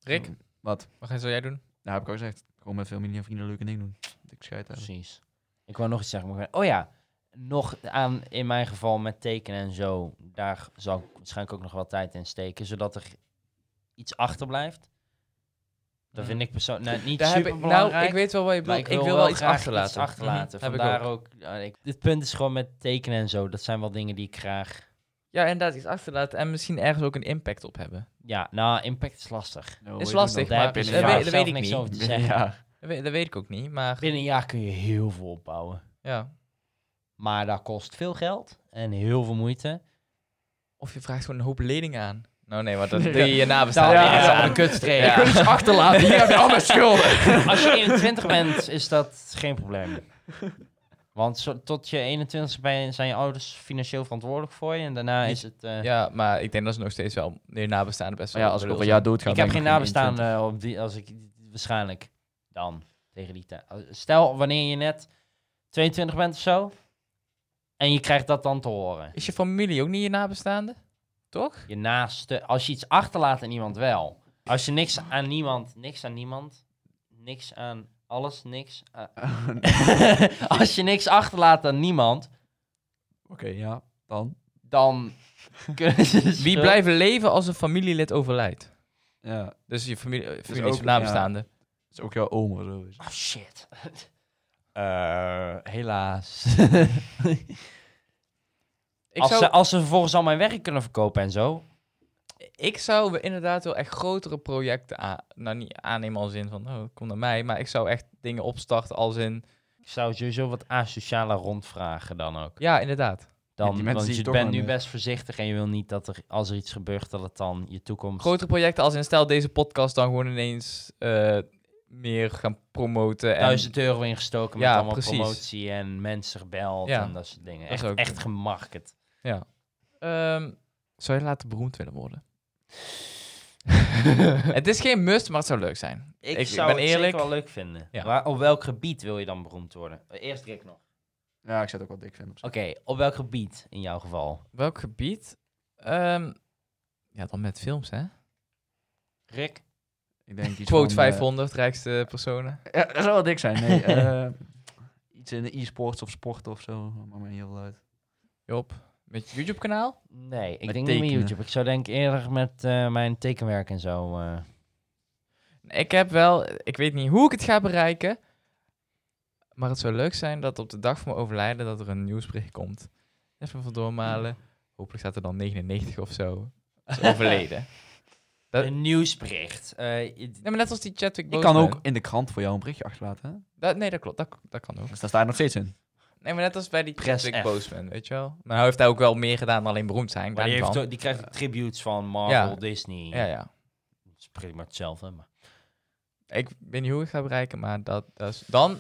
Rick,
Wat?
wat zou jij doen?
Nou, heb ik al gezegd. Gewoon met familie en vrienden leuke dingen doen. Ik scheid hebben.
Precies. Ik wou nog iets zeggen. Maar ik ben- oh ja, nog aan in mijn geval met tekenen en zo. Daar zal ik waarschijnlijk ook nog wel tijd in steken, zodat er iets achterblijft. Dat
Mm.
vind ik persoonlijk nou, niet
Daar heb
super
ik, nou,
belangrijk.
ik weet wel wat je
maar
bedoelt.
ik wil, wel, iets achterlaten. Iets achterlaten.
Mhm, heb ik
Vandaar
ook.
ook. ja, ik- het punt is gewoon met tekenen en zo. Dat zijn wel dingen die ik graag
Ja, inderdaad, iets achterlaten en misschien ergens ook een impact op hebben.
Ja, nou, impact is lastig.
is lastig,
Daar
maar
heb
dat
je
weet,
een jaar
dat
zelf
weet ik
niks
niet.
over te
Binnen een
zeggen.
jaar.
Dat weet, dat weet ik ook niet, maar
Binnen een jaar kun je heel veel opbouwen.
ja.
Maar dat kost veel geld en heel veel moeite.
Of je vraagt gewoon een hoop leningen aan. Nou nee, want dat doe je je nabestaanden
Ja,
niet eens
ja,
aan.
een kutstreek.
Ja.
Kun je ze achterlaten? Hier hebben allemaal schulden.
Als je 21 bent, is dat geen probleem. Want zo- tot je 21 bent, zijn je ouders financieel verantwoordelijk voor je. En daarna is het... eh,
Ja, maar ik denk dat ze nog steeds wel de nabestaanden best wel...
Maar ja, als ik over
lul
een
zijn.
jaar doodga...
ik
ben
heb geen
nog
nabestaanden op die, als ik waarschijnlijk dan tegen die tijd. Eh, Stel wanneer je net 22 bent of zo en je krijgt dat dan te horen.
Is je familie ook niet je nabestaande? Toch?
Je naaste, als je iets achterlaat aan iemand wel. Als je niks aan niemand, niks aan niemand, niks aan alles, niks. aan-
21.
als je niks achterlaat aan niemand,
Oké, ja, dan.
dan kunnen ze. de
Wie
schuld-
blijven leven als een familielid overlijdt?
Ja, dat
Dus je familie, familie is
ook-
van nabestaanden.
is ook jouw oom of zo. weet je.
Oh shit. Eh, helaas.
Ik,
als,
zou,
ze, als ze vervolgens al mijn werk kunnen verkopen en zo,
ik zou inderdaad wel echt grotere projecten aan, nou niet aannemen als in van, oh, kom naar mij. Maar ik zou echt dingen opstarten als in,
Ik zou sowieso wat asociale rondvragen dan ook.
ja, inderdaad.
Dan,
die mensen
want
die
je
toch
bent
aan
nu
de-
best voorzichtig en je wil niet dat er, als er iets gebeurt, dat het dan je toekomst...
Grotere projecten als in, stel deze podcast dan gewoon ineens eh, meer gaan promoten. En,
Duizend euro ingestoken
Ja,
met allemaal
precies.
promotie en mensen gebeld
Ja.
en dat soort dingen.
Dat is
Echt,
ook-
echt gemarket.
Ehm, zou je later beroemd willen worden? het is geen must, maar het zou leuk zijn.
Ik,
Ik
zou
ben
het
eerlijk.
zeker wel leuk vinden.
Ja.
Maar op welk gebied wil je dan beroemd worden? Eerst Rick nog.
Ja, ik zou het ook wel dik vinden. op zich.
Oké, op welk gebied in jouw geval?
Welk gebied? Ehm, ja, dan met films, hè?
Rick?
Ik denk iets
Quote
van,
500, rijkste personen.
eh, ja, dat zou wel dik zijn. Nee, eh, iets in de e-sports of sport of zo. Dat maakt me niet heel uit.
Job, met je YouTube-kanaal?
Nee, ik
Met
denk niet
tekenen.
met YouTube. Ik zou denk eerder met eh, mijn tekenwerk en zo... eh,
Ik heb wel, ik weet niet hoe ik het ga bereiken. Maar het zou leuk zijn dat op de dag van mijn overlijden dat er een nieuwsbericht komt. Even van doormalen. Hopelijk staat er dan 99 of zo. Is overleden. Dat-
Een nieuwsbericht. Eh, je-
Nee, maar net als die Chadwick
Ik kan ook
Boseman.
in de krant voor jou een berichtje achterlaten. Hè?
Dat, nee, dat klopt. Dat, dat kan ook.
Dus daar staat nog steeds in.
Nee, maar net als bij die
Press
Chadwick
F.
Boseman, weet je wel. Maar hij heeft daar ook wel meer gedaan dan alleen beroemd zijn.
Maar
daar
die,
niet
heeft,
van.
ook- die krijgt ook tributes van Marvel,
Ja.
Disney.
Ja, ja.
Dat is pretty much hetzelfde. Maar...
Ik weet niet hoe ik ga bereiken, maar dat, dat is... Dan,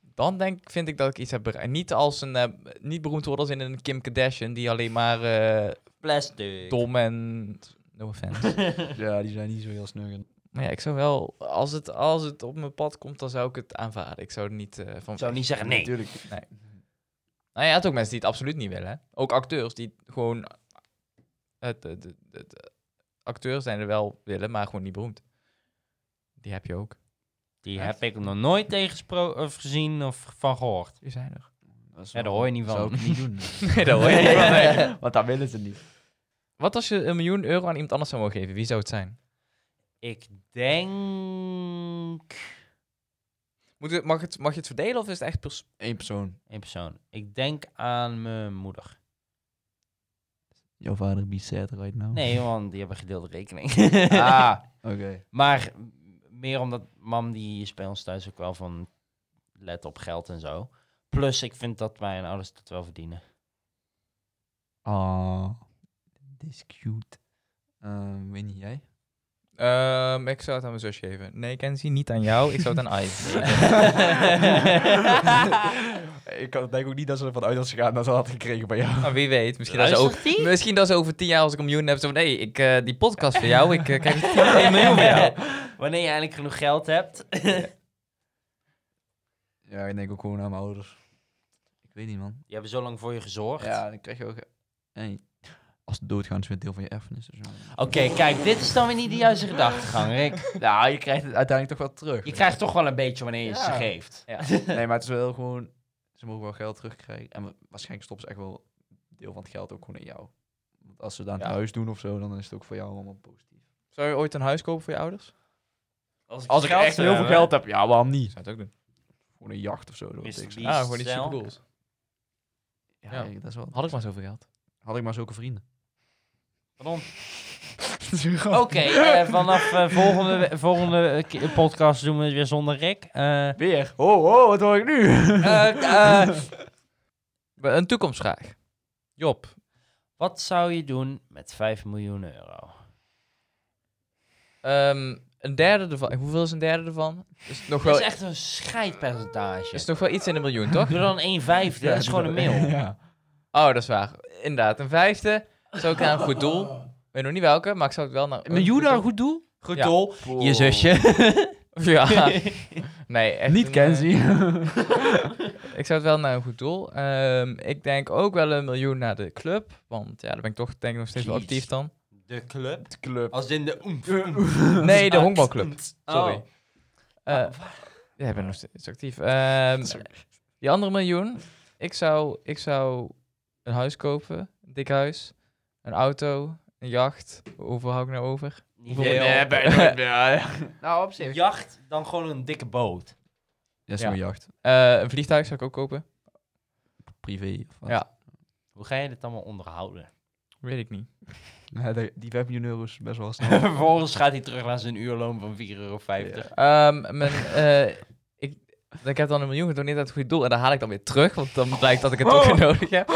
dan denk, ik- vind ik dat ik iets heb bereikt. Niet, als een, eh, niet beroemd worden als in een Kim Kardashian die alleen maar eh,
Plastic.
dom en... No offense.
Ja, die zijn niet zo heel snuggen.
maar ja, ik zou wel... Als het, als het op mijn pad komt, dan zou ik het aanvaarden. Ik zou er niet eh, van...
Ik zou niet zeggen nee.
Natuurlijk.
Nou ja, je hebt ook mensen die het absoluut niet willen. Hè? Ook acteurs die gewoon... Het, het, het, het- acteurs zijn er wel willen, maar gewoon niet beroemd. Die heb je ook.
Die heb ik nog nooit tegensproken of gezien of van gehoord.
Die zijn er.
Dat is
Ja, daar
wel-
hoor je niet van.
Zou ik niet doen.
Nee, dat hoor je niet van, nee.
Want daar willen ze niet.
Wat als je een miljoen euro aan iemand anders zou mogen geven? Wie zou het zijn?
Ik denk...
Moet het, mag, het, mag je het verdelen of is het echt pers
Eén persoon.
Eén persoon. Ik denk aan mijn moeder.
Jouw vader be sad right now.
Nee, want die hebben gedeelde rekening.
Ah, oké.
Maar meer omdat mam die is bij ons thuis ook wel van let op geld en zo. Plus ik vind dat mijn ouders dat wel verdienen.
Ah, dit is cute. Ehm, weet niet, jij?
Ehm, ik zou het aan mijn zus geven. Nee, Kenzie, niet aan jou. Ik zou het aan Ice.
ik kan- denk ook niet dat ze ervan uit dat ze gaan dat ze had gekregen bij jou.
Maar wie weet, misschien dat, ze over,
Luistert die?
misschien dat ze over tien jaar als ik een miljoen heb... Zo van, nee, ik, eh, die podcast van jou, ik eh, krijg een 10 miljoen van jou.
Wanneer je eindelijk genoeg geld hebt.
Ja, ik denk ook gewoon aan mijn ouders. Ik weet niet, man.
Die hebben zo lang voor je gezorgd.
Ja, dan krijg je ook... Hey, als het doodgaan is het deel van je erfenis. Dus ja.
Oké, kijk, dit is dan weer niet de juiste gedachtegang, Rick.
nou, je krijgt het uiteindelijk toch wel terug.
Je krijgt toch wel een beetje wanneer je ze
Ja.
geeft.
Nee, maar het is wel gewoon... Ze mogen wel geld terugkrijgen. En wa- waarschijnlijk stoppen ze echt wel een deel van het geld ook gewoon in jou. Want als ze het aan het
Ja.
huis doen of zo, dan is het ook voor jou allemaal positief.
Zou je ooit een huis kopen voor je ouders?
Als ik echt
eh,
heel veel geld heb, ja, waarom
Ik
niet?
zou het ook doen.
Gewoon een jacht of zo. Dat, wil ik
Mr.
zeggen.
Beast.
Ah, gewoon iets
Zelf.
supercools.
ja,
Ja.
ik- dat is wel...
Had ik maar zoveel geld.
Had ik maar zulke vrienden.
Pardon.
Oké.
Oké, eh, vanaf eh, volgende, volgende ke- podcast doen we het weer zonder Rick. Eh,
Weer. Oh, oh, wat hoor ik nu?
eh, eh,
Een toekomstvraag. Job,
wat zou je doen met 5 miljoen euro?
ehm, een derde ervan. Hoeveel is een derde ervan? Is nog
Dat
wel,
is echt een scheidpercentage.
is nog wel iets in een miljoen, toch?
Doe dan 1 vijfde, dat is gewoon een mail.
Ja.
Oh, dat is waar. Inderdaad, een vijfde. Zou ik naar een goed doel. Weet nog niet welke, maar ik zou het wel naar...
Een miljoen aan een goed doel? Goed
Ja.
doel. Je zusje.
Ja. Nee, echt
Niet
een,
Kenzie.
eh, ik zou het wel naar een goed doel. Ehm, ik denk ook wel een miljoen naar de club. Want ja, daar ben ik toch denk ik nog steeds wel
Jeez.
actief dan.
De club.
Club.
Als in de oemf.
Nee, de honkbalclub. Sorry.
Oh.
Eh, ja, ik ben nog steeds actief. Ehm, die andere miljoen. Ik zou, ik zou een huis kopen. Een dik huis. Een auto. Een jacht. Hoeveel hou ik nou over?
Niet
Ja,
veel.
nee,
Nou, op zich.
eh, Jacht, dan gewoon een dikke boot.
Dat is
Ja.
mijn jacht.
Eh, een vliegtuig zou ik ook kopen.
Privé. Of wat.
Ja.
Hoe ga je dit allemaal onderhouden?
Weet ik niet.
Nee, die- die 5 miljoen euro is best wel snel.
Vervolgens gaat hij terug naar zijn uurloon van 4,50 euro.
Ehm, mijn, eh, ik, ik heb dan een miljoen gedoneerd aan het goede doel. En dan haal ik dan weer terug, want dan blijkt dat ik het ook
Oh.
weer nodig heb.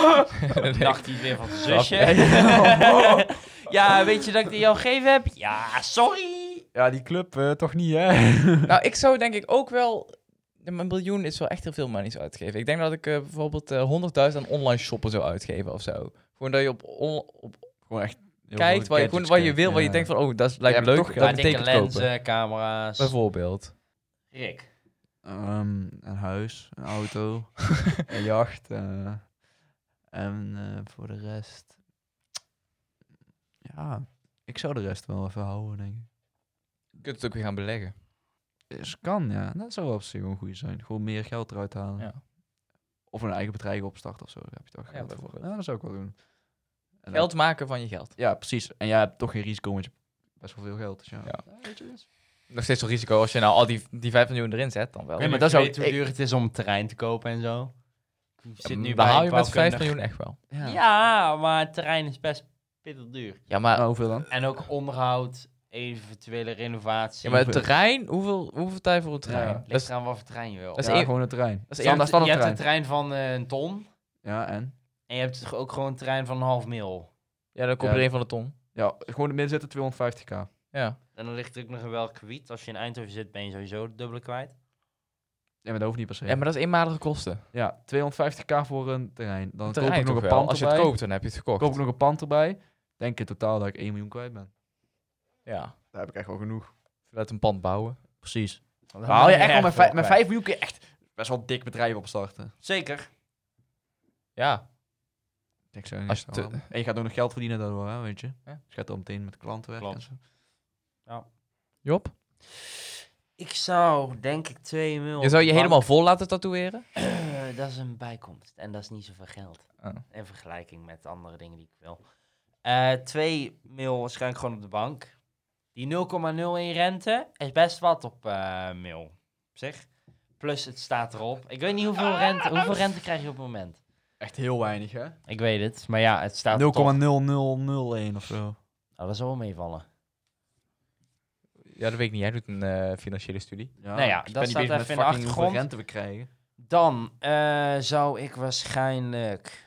Dan dacht hij weer van zijn zusje.
Ja.
ja, weet je dat ik die jou gegeven heb? Ja, sorry.
ja, die club eh, toch niet, hè?
nou, ik zou denk ik ook wel... Een miljoen is wel echt heel veel monies uitgeven. Ik denk dat ik eh, bijvoorbeeld eh 100.000 aan online shoppen zou uitgeven of zo. Gewoon dat je op, on- op
Gewoon echt. heel
kijkt
veel
wat je, gewoon
gadgets
wat je
kijkt,
wil, wat je
ja.
denkt van, oh, dat is- lijkt me
Je hebt
leuk.
toch
Dat
Ja,
geld.
dikke
betekent
lenzen,
kopen.
camera's.
Bijvoorbeeld.
Rick.
Ehm, een huis, een auto, een jacht. eh, en eh, voor de rest. Ja, ik zou de rest wel even houden, denk ik.
Je kunt het ook weer gaan beleggen.
Dus kan, ja. Dat zou wel op zich wel goed zijn. Gewoon meer geld eruit halen.
Ja.
Of een eigen bedrijf opstarten of zo. Daar heb je toch geld voor.
bijvoorbeeld.
Ja, dat zou ik wel doen. En dan-
Geld maken van je geld.
Ja, precies. En jij hebt toch geen risico, want je hebt best wel veel geld. Dus ja.
Ja.
weet je, dat is-
Nog steeds een risico. Als je nou al die, die 5 miljoen erin zet, dan wel.
Nee, maar
dat
dat
zou-
weet hoe
ik-
duur het is om terrein te kopen en zo. Ik zit nu
dan
bij
haal
een
je met 5
bouwkundige-
miljoen echt wel.
Ja.
Ja, maar het terrein is best pittig duur.
Ja, maar
Nou, hoeveel dan?
En ook onderhoud, eventuele renovatie.
Ja, maar het terrein, hoeveel, hoeveel tijd voor het terrein?
Ja.
Dat
Ligt
is,
eraan wat voor terrein je wil.
Dat is
ja,
één-
gewoon een terrein.
dat is
je hebt,
Standaard, standaard
je hebt
terrein.
een terrein van eh, een ton.
Ja, en?
En je hebt dus ook gewoon een terrein van een half mil.
ja, dan komt
Ja.
er één van de ton.
Ja, gewoon in het midden zitten 250k.
Ja.
En dan ligt er ook nog een wel kwiet. Als je in Eindhoven zit, ben je sowieso het dubbele kwijt.
Ja, maar dat hoeft niet per se.
ja, maar dat is eenmalige kosten.
Ja, 250k voor een terrein. Dan
Het terrein
koop ik nog
toch
een
wel.
pand
Als je het
erbij.
koopt, dan heb je het gekocht.
koop ik nog een pand erbij. Denk in totaal dat ik 1 miljoen kwijt ben.
Ja,
Daar heb ik echt wel genoeg.
laat een pand bouwen.
Precies.
Dan
Dan haal je
ben
echt wel met,
veel
vijf- met
kwijt.
5 miljoen kun je echt best wel een dik bedrijf opstarten.
Zeker.
Ja,
Ik denk zo. niet
Als je
zo.
te-
En je gaat ook nog geld verdienen daardoor, hè, weet je.
Ja.
Dus je gaat dan meteen met klanten werken.
Klopt.
en zo.
Job.
Ik zou, denk ik, 2 mil...
Je zou je
op de
helemaal
bank-
vol laten tatoeëren?
Eh, dat is een bijkomst. En dat is niet zoveel geld.
Oh.
In vergelijking met andere dingen die ik wil. Eh 2 mil waarschijnlijk gewoon op de bank. Die 0,01 rente is best wat op eh mil. Op zich. Plus het staat erop. Ik weet niet hoeveel rente, hoeveel rente krijg je op het moment.
Echt heel weinig, hè? 0,0001
Ik weet het, maar ja, het staat erop. Nou,
of zo.
dat zal wel meevallen.
Ja, dat weet ik niet. Jij doet een eh, financiële studie.
Nou ja,
Oh, ik
dat
ben niet
staat
bezig
even
met
in de
fucking hoeveel
achtergrond.
rente we krijgen.
Dan eh, zou ik waarschijnlijk,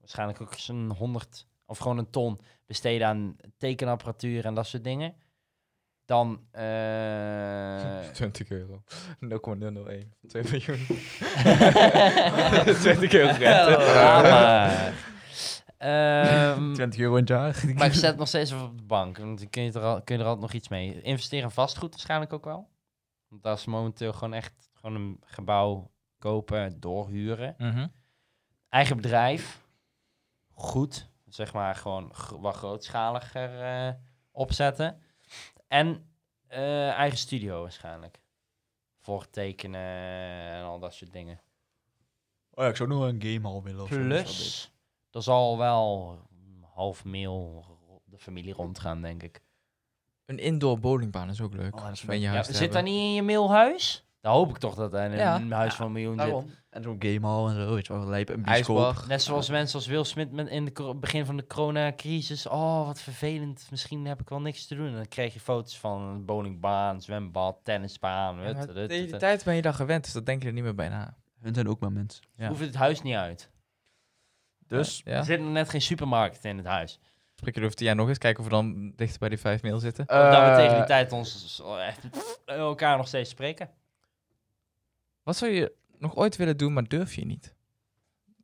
waarschijnlijk ook zo'n 100 of gewoon een ton besteden aan tekenapparatuur en dat soort dingen. Dan, eh
20 euro. 0,001. 2 miljoen. 20 euro rente.
Lama. Ehm,
20 euro in het jaar.
maar ik zet het nog steeds even op de bank, want dan kun je er, al, kun je er altijd nog iets mee. Investeren in vastgoed waarschijnlijk ook wel. Want dat is momenteel gewoon echt gewoon een gebouw kopen, doorhuren.
Mhm.
eigen bedrijf. Goed. Zeg maar gewoon gro- wat grootschaliger eh, opzetten. En eh, eigen studio waarschijnlijk. Voor tekenen en al dat soort dingen.
Oh ja, ik zou nog wel een gamehal willen. of zo.
Plus, er zal wel een half mil ro- de familie rondgaan, denk ik.
Een indoor bowlingbaan is ook leuk.
Oh, dat is
Om in je
leuk.
Ja,
huis te
zit dat
hebben.
niet in je mailhuis? Daar hoop ik toch dat hij in
Ja.
een huis van een miljoen zit.
Daarom. En zo'n gamehall en zo, weet je wel, lijp een bioscoop.
IJsbar.
Net zoals mensen als Will Smith met in het begin van de coronacrisis. Oh, wat vervelend. Misschien heb ik wel niks te doen. En dan kreeg je foto's van een bowlingbaan, zwembad, tennisbaan.
Ja,
hut,
maar
hut, hut,
tegen die
hut.
tijd ben je dan gewend, dus dat denk je er niet meer bij na.
Hun zijn ook maar mensen.
ja.
Hoef het huis niet uit.
Dus,
Ja?
Er zit nog net geen supermarkt in het huis.
Spreek je over jij nog eens, kijken of we dan dichter bij die 5 mail zitten.
Omdat we
eh,
tegen die tijd ons elkaar nog steeds spreken.
Wat zou je nog ooit willen doen, maar durf je niet?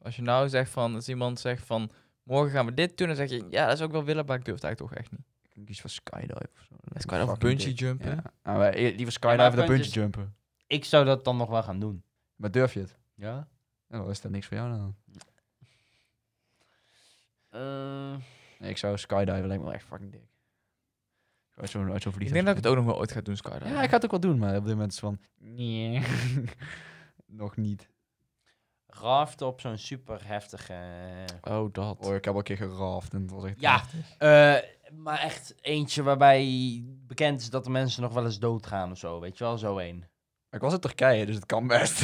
Als je nou zegt van, als iemand zegt van, morgen gaan we dit doen, dan zeg je, ja, dat zou ik wel willen, maar ik durf het eigenlijk toch echt niet.
ik kies voor skydive of zo.
Is kan of bungee jumpen.
Ja. Nou, wij- eh, liever
maar
skydive dan
punt
bungee
is-
jumpen.
Ik zou dat dan nog wel gaan doen.
Maar durf je het?
Ja?
Ja, dan is dat niks voor jou dan.
Eh,
Nee, ik zou skydiven, lijkt me wel echt fucking dik. Ik uit zo'n uit zo'n
Ik denk
vliegtuig
dat ik het
springen.
ook nog wel ooit ga doen, Skydive.
Ja, ik ga het ook wel doen, maar op dit moment is het van... Nee. eh, Nog niet.
raft op zo'n super heftige...
Oh, dat.
Oh, ik heb al een keer geraft en het was echt...
Ja, Eh, maar echt eentje waarbij bekend is dat de mensen nog wel eens doodgaan of zo. Weet je wel, zo een.
Ik was in Turkije, dus het kan best.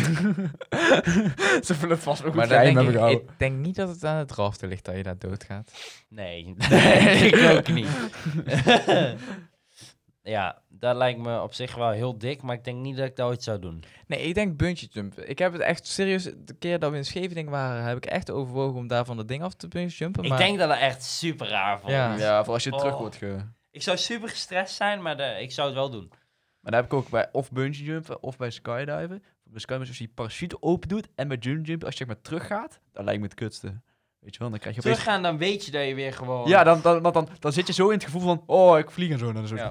Ze vullen het vast ook
Maar
maar
dan
geheim,
denk
heb
ik,
ik ook.
ik denk niet dat het aan het raften ligt dat je daar doodgaat.
Nee, nee ik ook niet. ja, dat lijkt me op zich wel heel dik, maar ik denk niet dat ik dat ooit zou doen.
Nee, ik denk bungee jumpen. Ik heb het echt serieus, de keer dat we in Scheveningen waren, heb ik echt overwogen om daar van dat ding af te bungee jumpen. Maar
Ik denk dat dat echt super raar vond.
Ja.
Ja, voor als je
Oh.
terug wordt ge...
Ik zou super gestrest zijn, maar de- ik zou het wel doen.
Maar daar heb ik ook bij of bungee jumpen of bij skydiven. Bij skydiven is als je die parachute open doet en bij jump jump als je zeg maar terug gaat, dat lijkt me het kutste. Weet je wel, dan krijg je opeens...
Teruggaan, dan weet je dat je weer gewoon...
Ja, dan, dan, dan, dan, dan zit je zo in het gevoel van, oh, ik vlieg en zo. En dan zo.
Ja.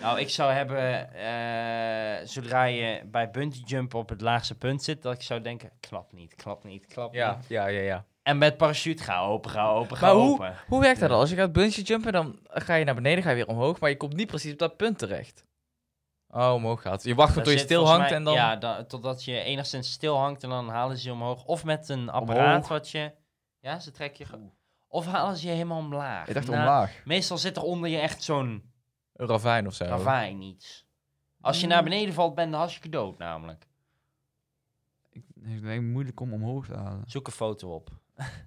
Nou, ik zou hebben, eh, zodra je bij bungee jump op het laagste punt zit, dat ik zou denken, klap niet, klap niet, klap niet.
Ja, ja, ja, ja.
En met parachute ga open, ga open, ga
Maar hoe-
open.
Hoe werkt dat dan? Als je gaat bungee jumpen, dan ga je naar beneden, ga je weer omhoog, maar je komt niet precies op dat punt terecht. Oh, omhoog gaat. Je wacht
Daar
tot je
zit
stil
volgens
hangt
mij-
en dan...
Ja, da- totdat je enigszins stil hangt en dan halen ze je omhoog. Of met een apparaat
Omhoog.
wat je... Ja, ze trekken je... ge- Of halen ze je helemaal omlaag.
Ik dacht
Nou,
omlaag.
Meestal zit er onder je echt zo'n
Een ravijn of zo.
ravijn iets. Als je
Mm.
naar beneden valt, ben je hartstikke dood namelijk.
Ik, ik denk moeilijk om omhoog te halen.
Zoek een foto op.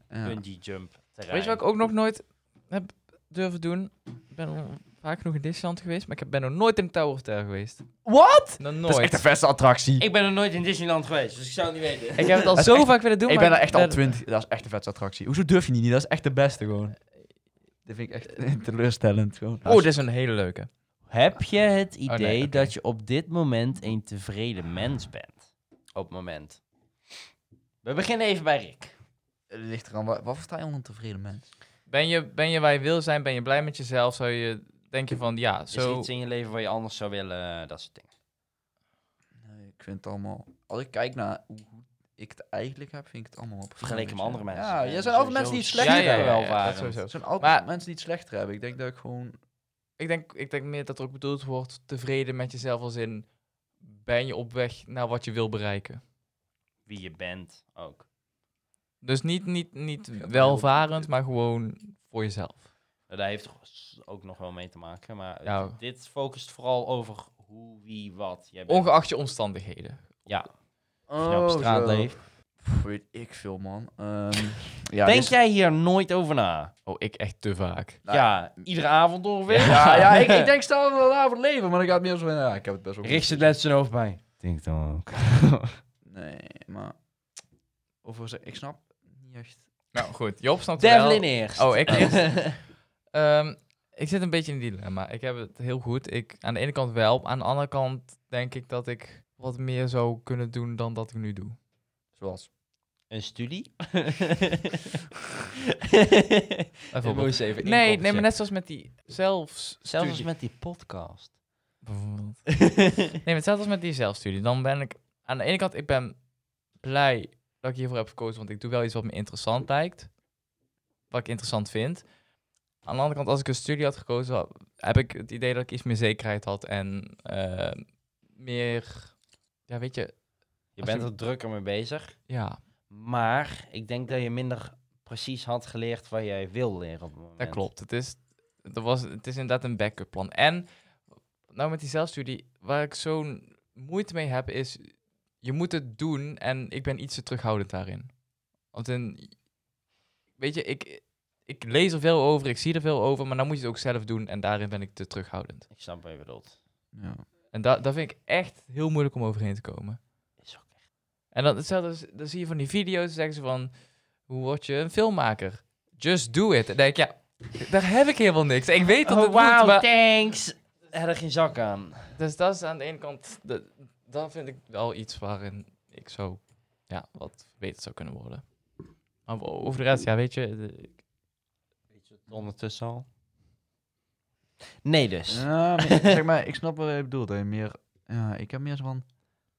Ja.
Bungee jump. Terrein.
Weet je wat ik ook nog nooit heb durven doen? Ik ben al vaak genoeg in Disneyland geweest, maar ik heb- ben nog nooit in Tower of Terror geweest. Wat? Nog
Dat is echt
nooit.
de beste attractie.
Ik ben nog nooit in Disneyland geweest, dus ik zou het niet weten.
Ik heb het al
Dat is
zo
echt-
vaak willen doen,
ik
maar
ben er echt al
ben-
twintig. Dat is echt de vetste attractie. Hoezo durf je niet? Dat is echt de beste gewoon. Eh, Dit vind ik echt teleurstellend. Gewoon.
Oh, dit is een hele leuke.
Heb je het idee
nee, oké.
dat je op dit moment een tevreden mens bent? Op het moment. We beginnen even bij Rick.
Het ligt eraan. Wat, wat versta je onder een tevreden mens?
Ben je, ben je waar je wil zijn? Ben je blij met jezelf? Zou je... Denk je van, ja,
Is
zo...
er iets in je leven waar je anders zou willen? eh, Dat soort dingen.
Nee, ik vind het allemaal... Als ik kijk naar hoe goed ik het eigenlijk heb, vind ik het allemaal... wel prima,
Vergeleken
weet
met
je.
andere mensen.
Ja,
Eh,
er zijn altijd
sowieso
mensen die het
zeer
slechter hebben.
wel
welvarend.
dat sowieso.
Er zijn altijd
Maar-
mensen die het slechter hebben. Ik denk dat ik gewoon...
Ik denk, ik denk meer dat er ook bedoeld wordt tevreden met jezelf als in... Ben je op weg naar wat je wil bereiken?
Wie je bent ook.
Dus niet, niet, niet welvarend, maar gewoon voor jezelf.
Nou, Daar heeft toch s- ook nog wel mee te maken. Maar het-
Ja.
dit focust vooral over hoe, wie, wat. Jij bent.
Ongeacht je omstandigheden.
Ja. je nou op
Oh,
straat
Oh, zo.
leeft.
Pff, weet ik veel, man. Ehm, ja,
Denk
dus-
dit is-
jij hier nooit over na?
Oh, ik echt te vaak.
Nou,
ja, iedere avond ongeveer.
Ja, ja ik, ik denk staan we avond leven, maar dan gaat het meer zo van... Ja, ik heb het best wel goed.
Rick zit net zijn hoofd bij. Denk dan ook.
Nee, maar... Overigens, ik snap niet echt...
Nou goed, Job snapt het wel.
Devlin eerst.
Oh, ik eerst. Ehm, ik zit een beetje in een dilemma. Ik heb het heel goed. Ik, aan de ene kant wel. Aan de andere kant denk ik dat ik wat meer zou kunnen doen dan dat ik nu doe.
Zoals...
Een studie?
Bijvoorbeeld.
even
Nee, nee, maar net zoals met die zelfs.
Zelfs als met die podcast.
Bijvoorbeeld. nee, maar hetzelfde als met die zelfstudie. Dan ben ik aan de ene kant, ik ben blij dat ik hiervoor heb gekozen, want ik doe wel iets wat me interessant lijkt. Wat ik interessant vind. Aan de andere kant, als ik een studie had gekozen, had- heb ik het idee dat ik iets meer zekerheid had en eh, meer, ja, weet je,
Je
Als
bent
je-
er drukker mee bezig.
ja,
Maar ik denk dat je minder precies had geleerd wat jij wil leren op het moment.
dat klopt. Het is, er was, het is inderdaad een backup plan. En nou met die zelfstudie, waar ik zo'n moeite mee heb is, je moet het doen en ik ben iets te terughoudend daarin. Want in, weet je, ik, ik lees er veel over, ik zie er veel over, maar dan moet je het ook zelf doen en daarin ben ik te terughoudend.
Ik snap wat je bedoelt.
Ja.
En da daar vind ik echt heel moeilijk om overheen te komen.
Is ook echt.
En dan, hetzelfde, is- dan zie je van die video's, zeggen ze van, hoe word je een filmmaker? Just do it. En dan denk ik, ja, daar heb ik helemaal niks. Ik weet dat het
Oh,
moet,
wow,
maar-
thanks. Heb er geen zak aan.
Dus dat is aan de ene kant, dat, dat vind ik wel iets waarin ik zo, ja, wat beter zou kunnen worden. Maar o- over de rest, ja, weet je, de-
Weet je het ondertussen al? Nee dus.
Ja, maar ik- zeg maar, ik snap wat je bedoelt. Hè. Meer, ja, ik heb meer zo van...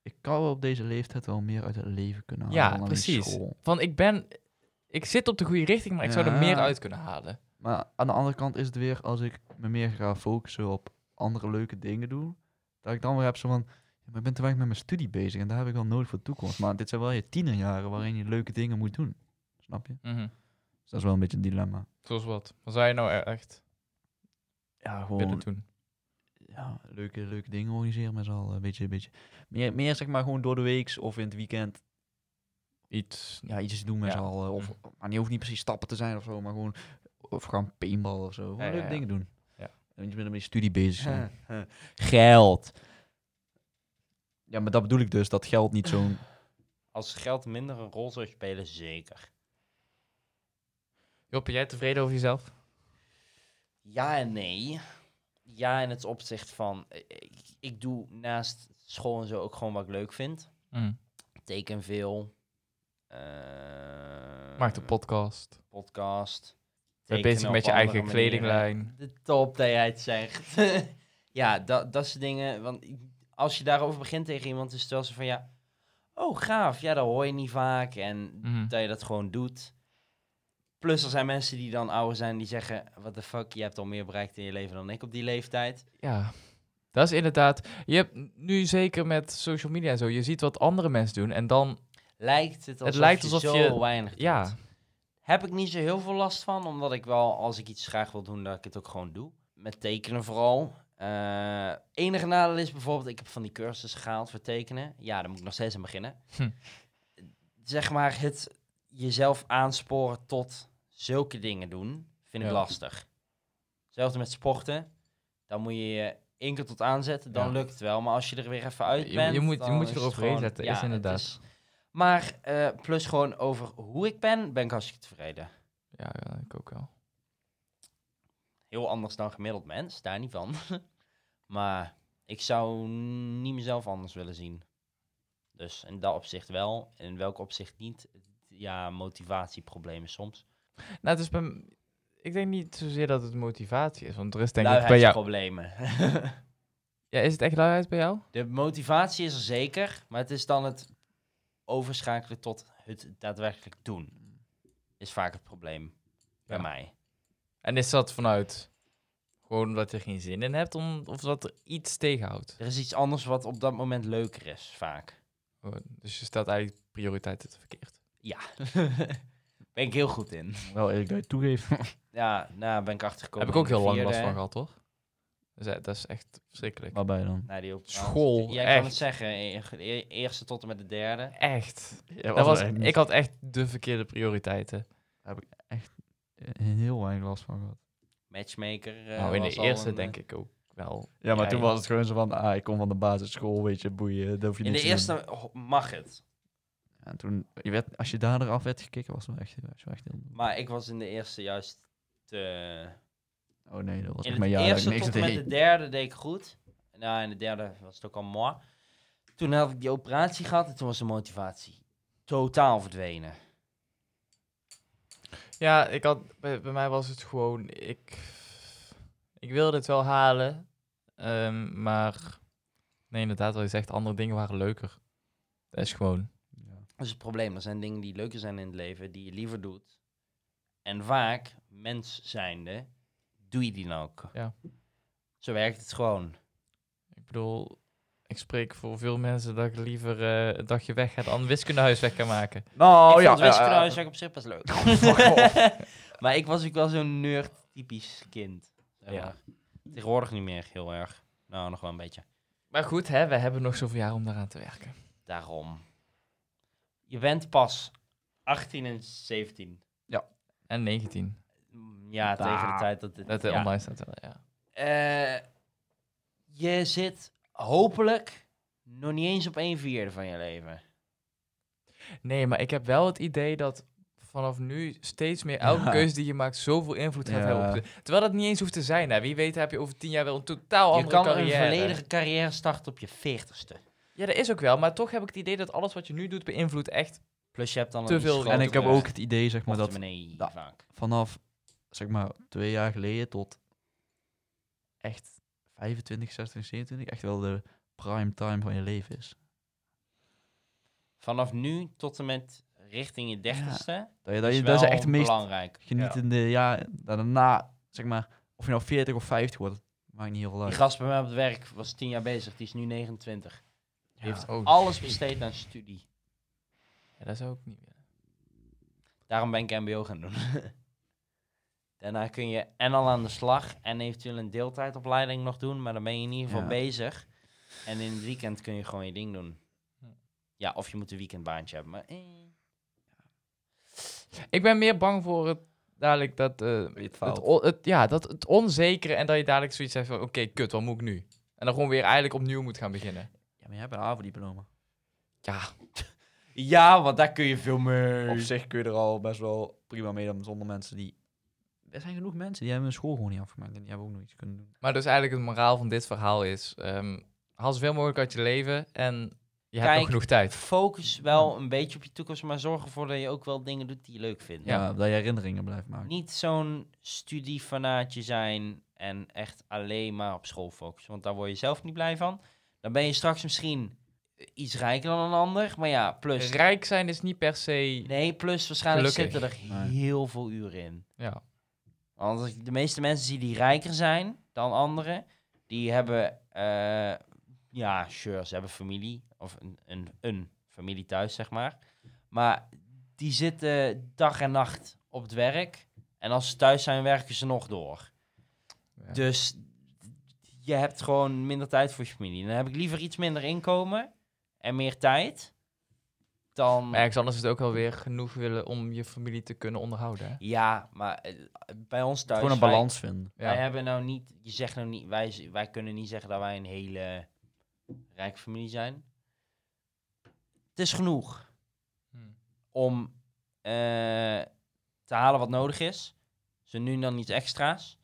Ik kan wel op deze leeftijd wel meer uit het leven kunnen halen
Ja,
dan uit
precies.
Ah, school.
van ik ben, ik zit op de goede richting, maar ik zou er
Ja.
meer uit kunnen halen.
Maar aan de andere kant is het weer, als ik me meer ga focussen op andere leuke dingen doen, dat ik dan weer heb zo van, ja, maar ik ben te weinig met mijn studie bezig en daar heb ik wel nodig voor de toekomst. Maar dit zijn wel je tienerjaren waarin je leuke dingen moet doen. Snap je? Dus dat is wel een beetje een dilemma.
Mhm. Zoals wat? Wat zou je nou e- echt
Ja,
willen
gewoon
doen?
ja, leuke, leuke dingen organiseren met z'n allen. Een beetje, een beetje. Meer, meer zeg maar gewoon door de week of in het weekend
Iets,
ja, iets doen met
Ja.
z'n allen. Of, maar die hoeft niet precies stappen te zijn of zo, maar gewoon of gaan paintballen of zo. Gewoon
Ja, ja,
leuke
ja.
dingen doen.
Ja.
En niet met een beetje studie bezig zijn.
Geld.
Ja, maar dat bedoel ik dus, dat geld niet zo'n...
Als geld minder een rol zou spelen, zeker.
Job, ben jij tevreden over jezelf?
Ja en nee. Ja in het opzicht van... eh, Ik, ik doe naast school en zo ook gewoon wat ik leuk vind.
Mhm.
Teken veel. eh,
Maak de podcast.
podcast.
Ben je
tekenen
bezig met
op
je
andere
eigen
manieren.
kledinglijn.
De top dat jij het zegt. ja, dat, dat soort dingen. Want ik- als je daarover begint tegen iemand, is het wel zo van ja. Oh, gaaf. Ja, dat hoor je niet vaak. En
Mhm.
dat je dat gewoon doet. Plus, er zijn mensen die dan ouder zijn die zeggen: What the fuck, je hebt al meer bereikt in je leven dan ik op die leeftijd.
Ja, dat is inderdaad. Je hebt nu zeker met social media en zo, je ziet wat andere mensen doen en dan,
Lijkt het alsof,
lijkt
je,
alsof
zo
je-
weinig doet.
ja.
Heb ik niet zo heel veel last van, omdat ik wel, als ik iets graag wil doen, dat ik het ook gewoon doe. Met tekenen vooral. Eh enige nadeel is bijvoorbeeld, ik heb van die cursus gehaald voor tekenen. Ja, daar moet ik nog steeds aan beginnen.
Hm.
Zeg maar, het jezelf aansporen tot zulke dingen doen, vind ik
Ja.
lastig. Hetzelfde met sporten. Dan moet je je één keer tot aanzetten, dan
Ja.
lukt het wel. Maar als je er weer even uit
Je-
bent...
je moet- je
dan
moet je
is het
eroverheen
gewoon-
zetten, is
het
inderdaad.
maar eh, plus gewoon over hoe ik ben, ben ik hartstikke tevreden.
ja, ja, ik ook wel.
Heel anders dan gemiddeld mens, daar niet van. maar ik zou niet mezelf anders willen zien. Dus in dat opzicht wel, in welk opzicht niet. Ja, motivatieproblemen soms.
Nou, het is bij m- ik denk niet zozeer dat het motivatie is, want er is denk ik bij jou.
Luigheidsproblemen.
Ja, is het echt luiheid bij jou?
De motivatie is er zeker, maar het is dan het overschakelen tot het daadwerkelijk doen. Is vaak het probleem bij
Ja.
mij.
En is dat vanuit gewoon omdat je er geen zin in hebt om, of dat er iets tegenhoudt?
Er is iets anders wat op dat moment leuker is, vaak.
Oh, Dus je stelt eigenlijk prioriteiten te verkeerd.
Ja. ben ik heel goed in.
Wel eerlijk dat je het toegeeft.
Ja, nou ben ik achtergekomen.
Heb ik ook
in de
heel lang
vierde,
last van gehad, hoor. Dus, eh, dat is echt verschrikkelijk.
Waarbij dan?
Nou, die op
School,
Jij
echt.
kan het zeggen. e- e- Eerste tot en met de derde.
Echt.
Ja,
Dat was, ik had echt de verkeerde prioriteiten.
eh, heel weinig last van gehad.
Matchmaker. eh,
nou, in de
was al
eerste
een, eh,
denk ik ook wel.
Ja, maar
Ja,
toen
ja.
was het gewoon zo van, ah, ik kom van de basisschool, weet je, boeien, daar hoef je
In de
niks te doen.
eerste ho- mag het.
En toen, je werd, als je daar eraf werd gekikt, was het wel echt, was wel echt heel...
Maar ik was in de eerste juist te...
Oh nee, dat was
In het
echt mijn jaar dat ik
eerste
niks
tot en met
deed.
de derde deed ik goed. Nou, in de derde was het ook al mooi. Toen had ik die operatie gehad en toen was de motivatie totaal verdwenen.
Ja, ik had, bij, bij mij was het gewoon, ik, ik wilde het wel halen, ehm, maar nee, inderdaad, wat je zegt, andere dingen waren leuker. Dat is gewoon,
Ja.
Dat is Dus het probleem. Er zijn dingen die leuker zijn in het leven, die je liever doet. En vaak, mens zijnde, doe je die dan ook.
Ja.
Zo werkt het gewoon.
ik bedoel, ik spreek voor veel mensen dat ik liever eh, een dagje weg ga dan wiskundehuis weg kan maken.
Nou,
ik
ja. Oh,
vond wiskundehuiswerk op zich best leuk. maar ik was ook wel zo'n nerd typisch kind. zeg
Ja.
maar. Tegenwoordig niet meer heel erg. Nou, nog wel een beetje.
Maar goed, hè, we hebben nog zoveel jaar om daaraan te werken.
Daarom. Je bent pas 18 en 17.
En 19.
Mm, Ja, tegen de tijd dat dit...
Dat de
ja.
online staat wel, ja.
Eh, je zit hopelijk nog niet eens op een vierde van je leven.
Nee, maar ik heb wel het idee dat vanaf nu steeds meer elke
Ja.
keuze die je maakt zoveel invloed gaat
Ja.
hebben. Op de- terwijl dat niet eens hoeft te zijn. Hè. Wie weet heb je over tien jaar wel een totaal
je
andere
kan
carrière.
een volledige carrière starten op je veertigste.
Ja, dat is ook wel. Maar toch heb ik het idee dat alles wat je nu doet beïnvloedt echt.
Plus je hebt dan
Te
een iets
veel-
grotere
En ik heb
Ja.
ook het idee, zeg maar, dat
portemonnee
Ja.
vaak.
vanaf zeg maar twee jaar geleden tot echt 25, 26, 27 echt wel de prime time van je leven is.
Vanaf nu tot en met richting je dertigste.
Dat, je, dat,
is
je, dat is
wel
echt het meest
belangrijk.
genietende jaar. Daarna, zeg maar, of je nou 40 of 50 wordt, maakt niet heel
Die
uit.
gast bij mij op het werk was tien jaar bezig. Die is nu 29.
Ja. Heeft
Oh,
ook.
Alles besteed aan studie.
Ja, dat zou ik niet willen.
Daarom ben ik mbo gaan doen. Daarna kun je en al aan de slag en eventueel een deeltijdopleiding nog doen. Maar dan ben je in ieder geval
Ja.
bezig. En in het weekend kun je gewoon je ding doen.
Ja.
Ja, of je moet een weekendbaantje hebben. Maar eh,
Ik ben meer bang voor het dadelijk dat. eh,
Het
het, on- het- ja, dat het onzekere en dat je dadelijk zoiets hebt van: oké, kut, wat moet ik nu? En dan gewoon weer eigenlijk opnieuw moet gaan beginnen.
Ja, maar jij hebt een AVO-diploma.
Ja,
Ja, want daar kun je veel meer.
Op zich kun je er al best wel prima mee dan zonder mensen die... Er zijn genoeg mensen die hebben hun school gewoon niet afgemaakt en die hebben ook nog iets kunnen doen.
maar dus eigenlijk het moraal van dit verhaal is: ehm haal zoveel mogelijk uit je leven en je hebt
Kijk,
nog genoeg tijd.
Focus wel een beetje op je toekomst, maar zorg ervoor dat je ook wel dingen doet die je leuk vindt.
Ja.
Ja, dat je herinneringen blijft maken.
Niet zo'n studiefanaatje zijn en echt alleen maar op school focussen, want daar word je zelf niet blij van. Dan ben je straks misschien iets rijker dan een ander, maar ja, plus.
Rijk zijn is niet per se.
Dus- Nee, plus waarschijnlijk
Gelukkig.
zitten er
Nee.
heel veel uren in.
Ja.
Want als ik de meeste mensen zie die rijker zijn dan anderen, die hebben, eh, ja, sure, ze hebben familie of een, een, een familie thuis, zeg maar. Maar die zitten dag en nacht op het werk. En als ze thuis zijn, werken ze nog door.
Ja.
Dus je hebt gewoon minder tijd voor je familie. Dan heb ik liever iets minder inkomen en meer tijd dan...
Maar ergens anders is het ook wel weer genoeg willen om je familie te kunnen onderhouden. Hè?
Ja, maar eh, bij ons thuis...
Gewoon een
wij-
balans vinden.
Wij
Ja.
hebben nou niet, je zegt nou niet, wij, z- wij kunnen niet zeggen dat wij een hele rijke familie zijn. Het is genoeg
Hm.
om eh, te halen wat nodig is. Zo nu en dan iets extra's.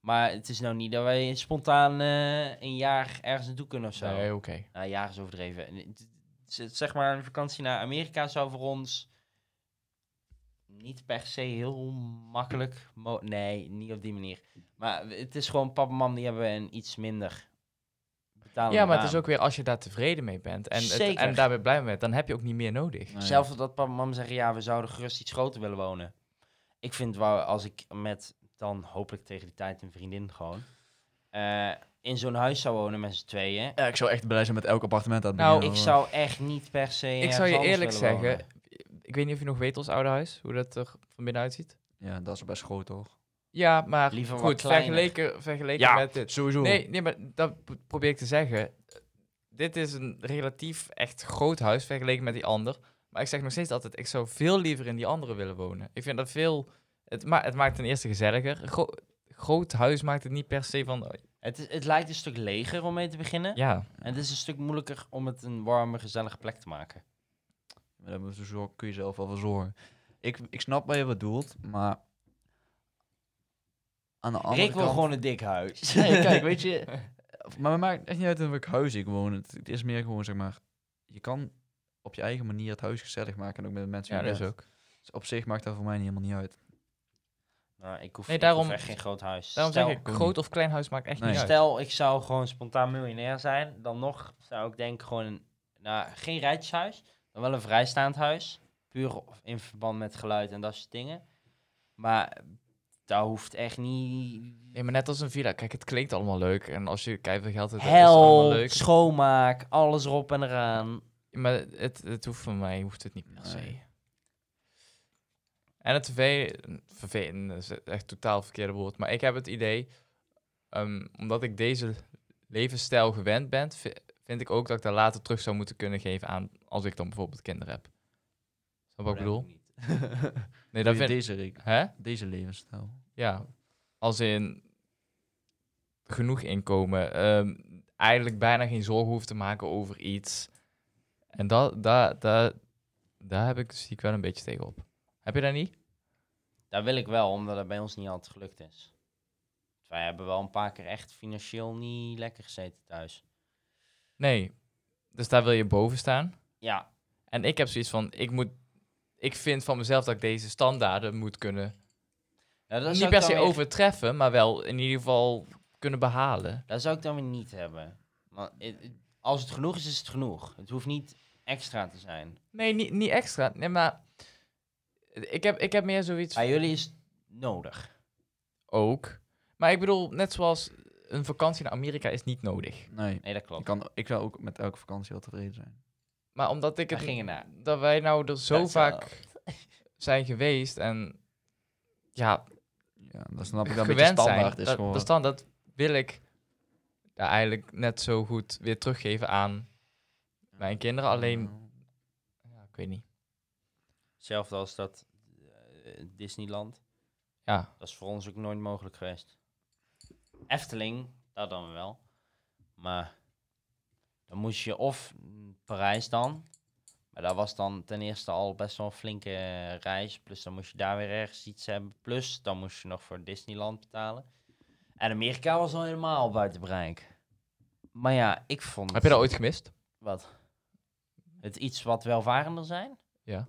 Maar het is nou niet dat wij spontaan eh, een jaar ergens naartoe kunnen of zo.
Nee, oké.
Nou, een jaar is overdreven. En het- het- het- Zeg maar, een vakantie naar Amerika zou voor ons niet per se heel makkelijk. mo- nee, niet op die manier. Maar het is gewoon papa en mam die hebben een iets minder betaalde
Ja, maar het
baan.
is ook weer als je daar tevreden mee bent en, het,
Zeker.
en daarbij blij mee bent, dan heb je ook niet meer nodig.
Nou
Zelfs dat papa en mam zeggen, ja, we zouden gerust iets groter willen wonen. Ik vind wel, als ik met dan hopelijk tegen die tijd een vriendin gewoon... eh, in zo'n huis zou wonen met z'n tweeën.
Ja, ik zou echt blij zijn met elk appartement aan het
Nou,
Oh.
begin,
Ik
hoor.
zou echt niet per se
ik
ergens
zou je
anders
eerlijk
willen
zeggen,
wonen.
ik weet niet of je nog weet ons oude huis, hoe dat er van binnen uitziet.
Ja, dat is best groot, toch?
Ja, maar
Liever wat
goed,
kleiner.
vergeleken, vergeleken met dit.
sowieso.
Nee, nee, maar dat p- probeer ik te zeggen. Dit is een relatief echt groot huis vergeleken met die ander. Maar ik zeg nog steeds altijd, ik zou veel liever in die andere willen wonen. Ik vind dat veel... Het, ma het maakt ten eerste gezelliger. Gro- groot huis maakt het niet per se van...
Het, is- het lijkt een stuk leger om mee te beginnen.
Ja,
En het is een stuk moeilijker om het een warme, gezellige plek te maken.
Maar daar moet je zo- kun je zelf wel voor zorgen. Ik, ik snap waar je wat doelt, maar... Aan de andere
Rick wil
kant...
gewoon een dik huis.
Nee, kijk, weet je... Maar het maakt echt niet uit in welk huis ik woon. Het, het is meer gewoon, zeg maar... Je kan op je eigen manier het huis gezellig maken. En ook met de mensen
ja
je
dat is
bent.
ook.
Dus op zich maakt dat voor mij niet helemaal niet uit.
Nou, ik hoef,
Nee,
ik hoef
daarom-
echt geen groot huis.
Daarom
stel,
zeg ik,
Koen.
groot of klein huis maakt echt
Nee.
niet uit.
stel, ik zou gewoon spontaan miljonair zijn. Dan nog zou ik denk gewoon een, nou, geen rijtjeshuis. Dan wel een vrijstaand huis. Puur op- in verband met geluid en dat soort dingen. Maar daar hoeft echt niet...
Nee, maar net als een villa. Kijk, het klinkt allemaal leuk. En als je kijkt hoeveel geld het is, is het allemaal
Hel,
leuk.
schoonmaak, alles erop en eraan.
Maar het, het hoeft voor mij hoeft het niet per se.
Nee.
En het vervelende, vervelende is echt totaal verkeerde woord. Maar ik heb het idee, ehm, omdat ik deze levensstijl gewend bent, vi- vind ik ook dat ik dat later terug zou moeten kunnen geven aan als ik dan bijvoorbeeld kinderen heb. Snap je wat ik bedoel? Nee, dat
Doe
vind ik.
je deze, re-
Hè?
deze levensstijl.
Ja. Als in genoeg inkomen. ehm, eigenlijk bijna geen zorgen hoeft te maken over iets. En dat, dat, dat, daar heb ik, dus zie ik wel een beetje tegen op. Heb je dat niet?
Dat wil ik wel, omdat dat bij ons niet altijd gelukt is. Wij hebben wel een paar keer echt financieel niet lekker gezeten thuis.
Nee. Dus daar wil je boven staan.
Ja,
En ik heb zoiets van, ik moet... Ik vind van mezelf dat ik deze standaarden moet kunnen...
nou, dat
niet
zou
per
ik
se
dan weer-
overtreffen, maar wel in ieder geval kunnen behalen.
Dat zou ik dan weer niet hebben. Want het- het- als het genoeg is, is het genoeg. Het hoeft niet extra te zijn.
Nee, niet, niet extra. Nee, maar... Ik heb, ik heb meer zoiets...
Bij jullie is het nodig.
ook. Maar ik bedoel, net zoals een vakantie naar Amerika is niet nodig.
Nee.
Nee, dat klopt.
Ik, kan, ik zou ook met elke vakantie wel tevreden zijn.
Maar omdat ik het,
Waar ging je naar?
dat wij nou er zo
Dat is
vaak zijn geweest en ja,
Ja, dan snap ik dat een beetje
gewend zijn.
standaard is
Dat,
gewoon.
de standaard wil ik ja, eigenlijk net zo goed weer teruggeven aan mijn kinderen. Alleen, ja, ik weet niet.
Hetzelfde als dat eh, Disneyland.
Ja,
Dat is voor ons ook nooit mogelijk geweest. Efteling, dat dan wel. Maar dan moest je of mm, Parijs dan. Maar dat was dan ten eerste al best wel een flinke eh, reis. Plus dan moest je daar weer ergens iets hebben. Plus dan moest je nog voor Disneyland betalen. En Amerika was al helemaal buiten bereik. Maar ja, ik vond...
heb je dat ooit gemist?
Wat? Het iets wat welvarender zijn?
Ja.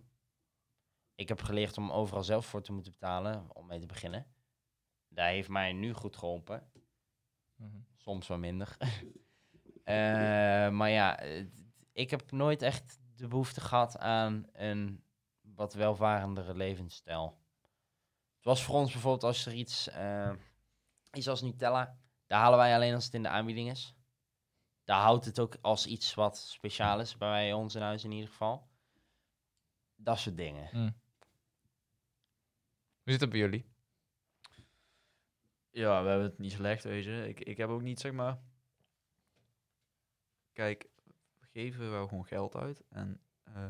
Ik heb geleerd om overal zelf voor te moeten betalen, om mee te beginnen. Daar heeft mij nu goed geholpen.
Mhm.
Soms wel minder. Eh, maar ja, eh, ik heb nooit echt de behoefte gehad aan een wat welvarendere levensstijl. Het was voor ons bijvoorbeeld als er iets eh, is als Nutella. Daar halen wij alleen als het in de aanbieding is. Daar houdt het ook als iets wat speciaal is bij ons in huis in ieder geval. Dat soort dingen.
Hoe zit het bij jullie?
Ja, we hebben het niet slecht, weet je. Ik, ik heb ook niet, zeg maar... Kijk, we geven wel gewoon geld uit. En eh,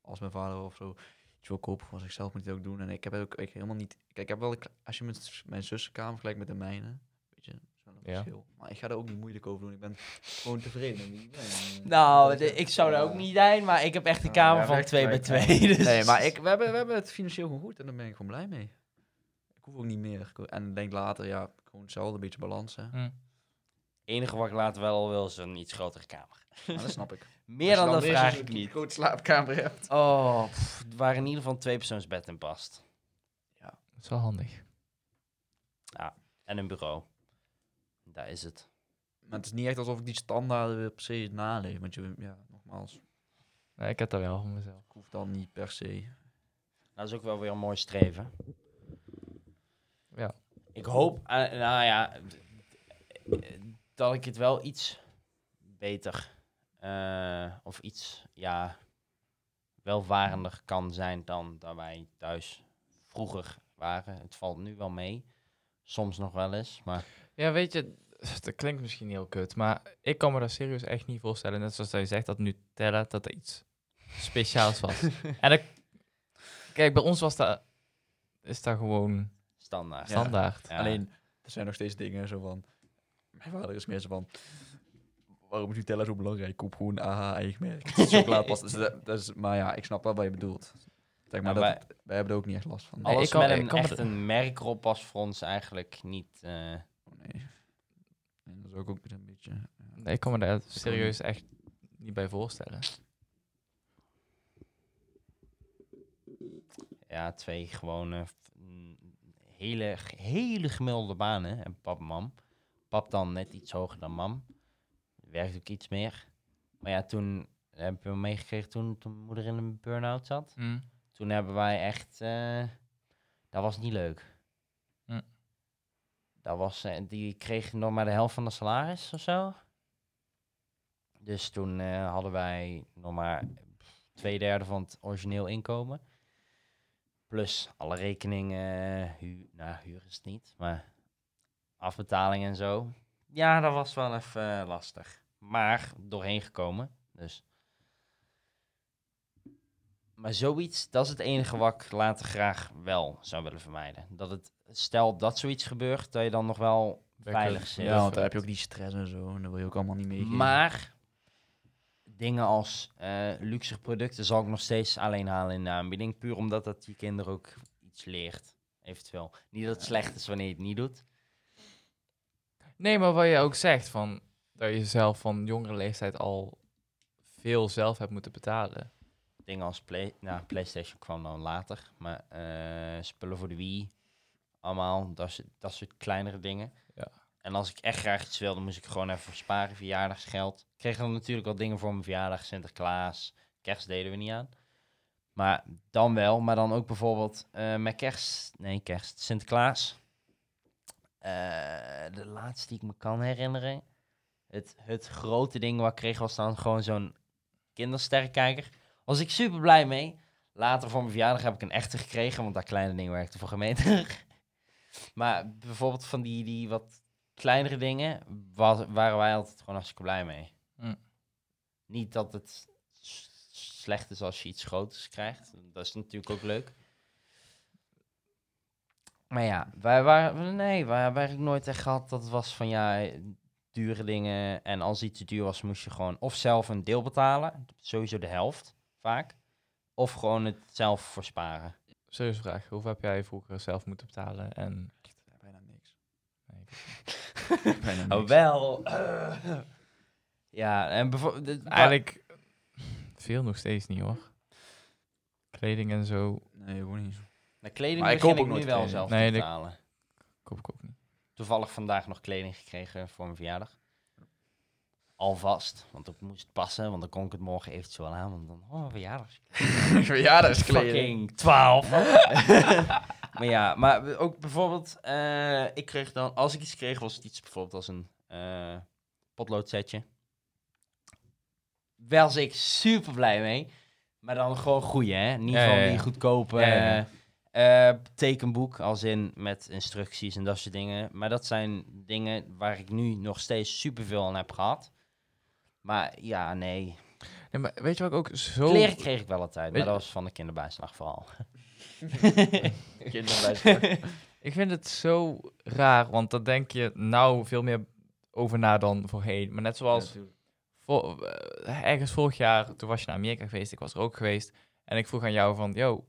als mijn vader of zo iets wil kopen voor zichzelf, moet hij dat ook doen. En ik heb ook ik helemaal niet... Kijk, ik heb wel... een kle- Als je mijn, s- mijn zussenkamer vergelijkt met de mijne, weet je, is wel een
Ja.
verschil. Maar ik ga daar ook niet moeilijk over doen. Ik ben gewoon tevreden met wie ik ben.
Nou,
Dat is
de-
echt-
ik zou daar ook
Ja.
niet zijn, maar ik heb echt een
Ja,
kamer
ja,
van
echt
2 bij
gelijk.
2. Dus...
Nee, maar ik, we, hebben, we hebben het financieel gewoon goed en daar ben ik gewoon blij mee. Ik hoef ook niet meer. Ik ho- En ik denk later, ja, gewoon hetzelfde, een beetje balansen.
Hm.
enige wat ik later wel wil is een iets grotere kamer.
Maar dat snap ik.
Meer dan dat vraag ik
niet.
niet.
Goed slaapkamer hebt.
Oh, pff, waar in ieder geval een tweepersoonsbed in past.
Dat is wel handig.
En een bureau. Daar is het.
Maar het is niet echt alsof ik die standaarden weer per se naleef. Want je, ja, nogmaals,
Nee, ik heb dat wel voor mezelf.
ik hoef dan niet per se.
Dat is ook wel weer een mooi streven.
Ja.
Ik hoop, eh, nou ja, d- eh, dat ik het wel iets beter eh, of iets, ja, welvarender kan zijn dan dat wij thuis vroeger waren. Het valt nu wel mee. Soms nog wel eens, maar
Ja, weet je, dat klinkt misschien heel kut, maar ik kan me dat serieus echt niet voorstellen. Net zoals dat je zegt dat Nutella dat er iets speciaals was. en dat, kijk, bij ons was dat, is dat gewoon
standaard.
Ja.
standaard.
Ja.
Alleen, er zijn nog steeds dingen zo van. Mijn vader is meer zo van. Waarom is Nutella zo belangrijk? Koop gewoon AH eigen merk. Chocolade Dus dat, dat is, maar ja, ik snap wel wat je bedoelt. Zeg
Nou,
maar, dat
wij-
het- wij hebben er ook niet echt last van.
Nee,
Alles
ik kan-
met
ik
een,
kan me
echt
dat-
een merk erop was voor ons eigenlijk niet... eh,
Nee. En dat is ook, ook weer een beetje.
Nee, Ik kan me daar serieus echt niet bij voorstellen.
Ja, twee gewone, f- n- hele, g- hele gemiddelde banen. En pap en mam. Pap dan net iets hoger dan mam. Werkt ook iets meer. Maar ja, toen heb ik wel meegekregen toen, toen mijn moeder in een burn-out zat.
Hm.
Hmm.
Toen hebben wij echt... eh, dat was niet leuk.
Hm.
Dat was... eh, die kreeg nog maar de helft van de salaris of zo. Dus toen eh, hadden wij nog maar twee derde van het origineel inkomen. Plus alle rekeningen, huur, nou huur is het niet, maar afbetaling en zo. Ja, dat was wel even eh, lastig. Maar doorheen gekomen, dus. Maar zoiets, dat is het enige wat ik later graag wel zou willen vermijden. Dat het, stel dat zoiets gebeurt, dat je dan nog wel veilig zit.
Ja,
Ja, want daar heb je ook die stress en zo. En dat wil je ook allemaal niet meegeven.
Maar dingen als eh, luxe producten zal ik nog steeds alleen halen in de aanbieding. Puur omdat dat je kinderen ook iets leert, eventueel. Niet dat het slecht is wanneer je het niet doet.
Nee, maar wat je ook zegt, van, dat je zelf van jongere leeftijd al veel zelf hebt moeten betalen.
Dingen als play, nou, PlayStation kwam dan later. Maar eh, spullen voor de Wii, allemaal, dat, soort- dat soort kleinere dingen.
Ja.
En als ik echt graag iets wilde, moest ik gewoon even sparen, verjaardagsgeld. Ik kreeg dan natuurlijk wel dingen voor mijn verjaardag, Sinterklaas. Kerst deden we niet aan. Maar dan wel, maar dan ook bijvoorbeeld eh met kerst, nee kerst, Sinterklaas. Eh, de laatste die ik me kan herinneren. Het, het grote ding wat ik kreeg was dan gewoon zo'n kindersterrenkijker. Was ik super blij mee. Later voor mijn verjaardag heb ik een echte gekregen, want dat kleine ding werkte voor gemeenter. maar bijvoorbeeld van die, die wat kleinere dingen, wa- waren wij altijd gewoon hartstikke blij mee.
Mm.
Niet dat het s- slecht is als je iets groters krijgt. Dat is natuurlijk ook leuk. Maar ja, wij waren, nee, wij hebben eigenlijk nooit echt gehad dat het was van ja, dure dingen. En als iets te duur was, moest je gewoon of zelf een deel betalen. Sowieso de helft, vaak. Of gewoon het zelf versparen.
Serieuze vraag, hoeveel heb jij vroeger zelf moeten betalen? En...
Bijna niks.
Nee, ik-
Bijna niks.
Oh, wel. ja, en bijvoorbeeld...
Eigenlijk veel nog steeds niet hoor. Kleding en zo
Nee, gewoon niet.
De kleding
Maar ik
begin
koop
ik
ook
nu
nooit
wel
kleding.
zelf
Nee,
te
dat-
betalen.
koop ik ook niet.
Toevallig vandaag nog kleding gekregen voor mijn verjaardag. Alvast, want ik moest passen, want dan kon ik het morgen eventueel aan. Want dan, oh, verjaardag.
Verjaardagskleding.
Fucking 12. maar ja, maar ook bijvoorbeeld, eh, ik kreeg dan, als ik iets kreeg, was het iets bijvoorbeeld als een eh potloodsetje. Wel was ik super blij mee, maar dan gewoon goeie, hè? Niet
Ja,
van
ja, ja.
die goedkope
Ja, ja, ja.
eh, eh, tekenboek, als in met instructies en dat soort dingen. Maar dat zijn dingen waar ik nu nog steeds superveel aan heb gehad. Maar ja, nee.
Nee, maar weet je wat ik ook zo...
Kleren kreeg ik wel altijd, maar
Weet-
dat was van de kinderbijslag vooral.
Ik vind het zo raar, want daar denk je nou veel meer over na dan voorheen. Maar net zoals vo- eh, ergens vorig jaar, toen was je naar Amerika geweest, ik was er ook geweest. En ik vroeg aan jou van, yo,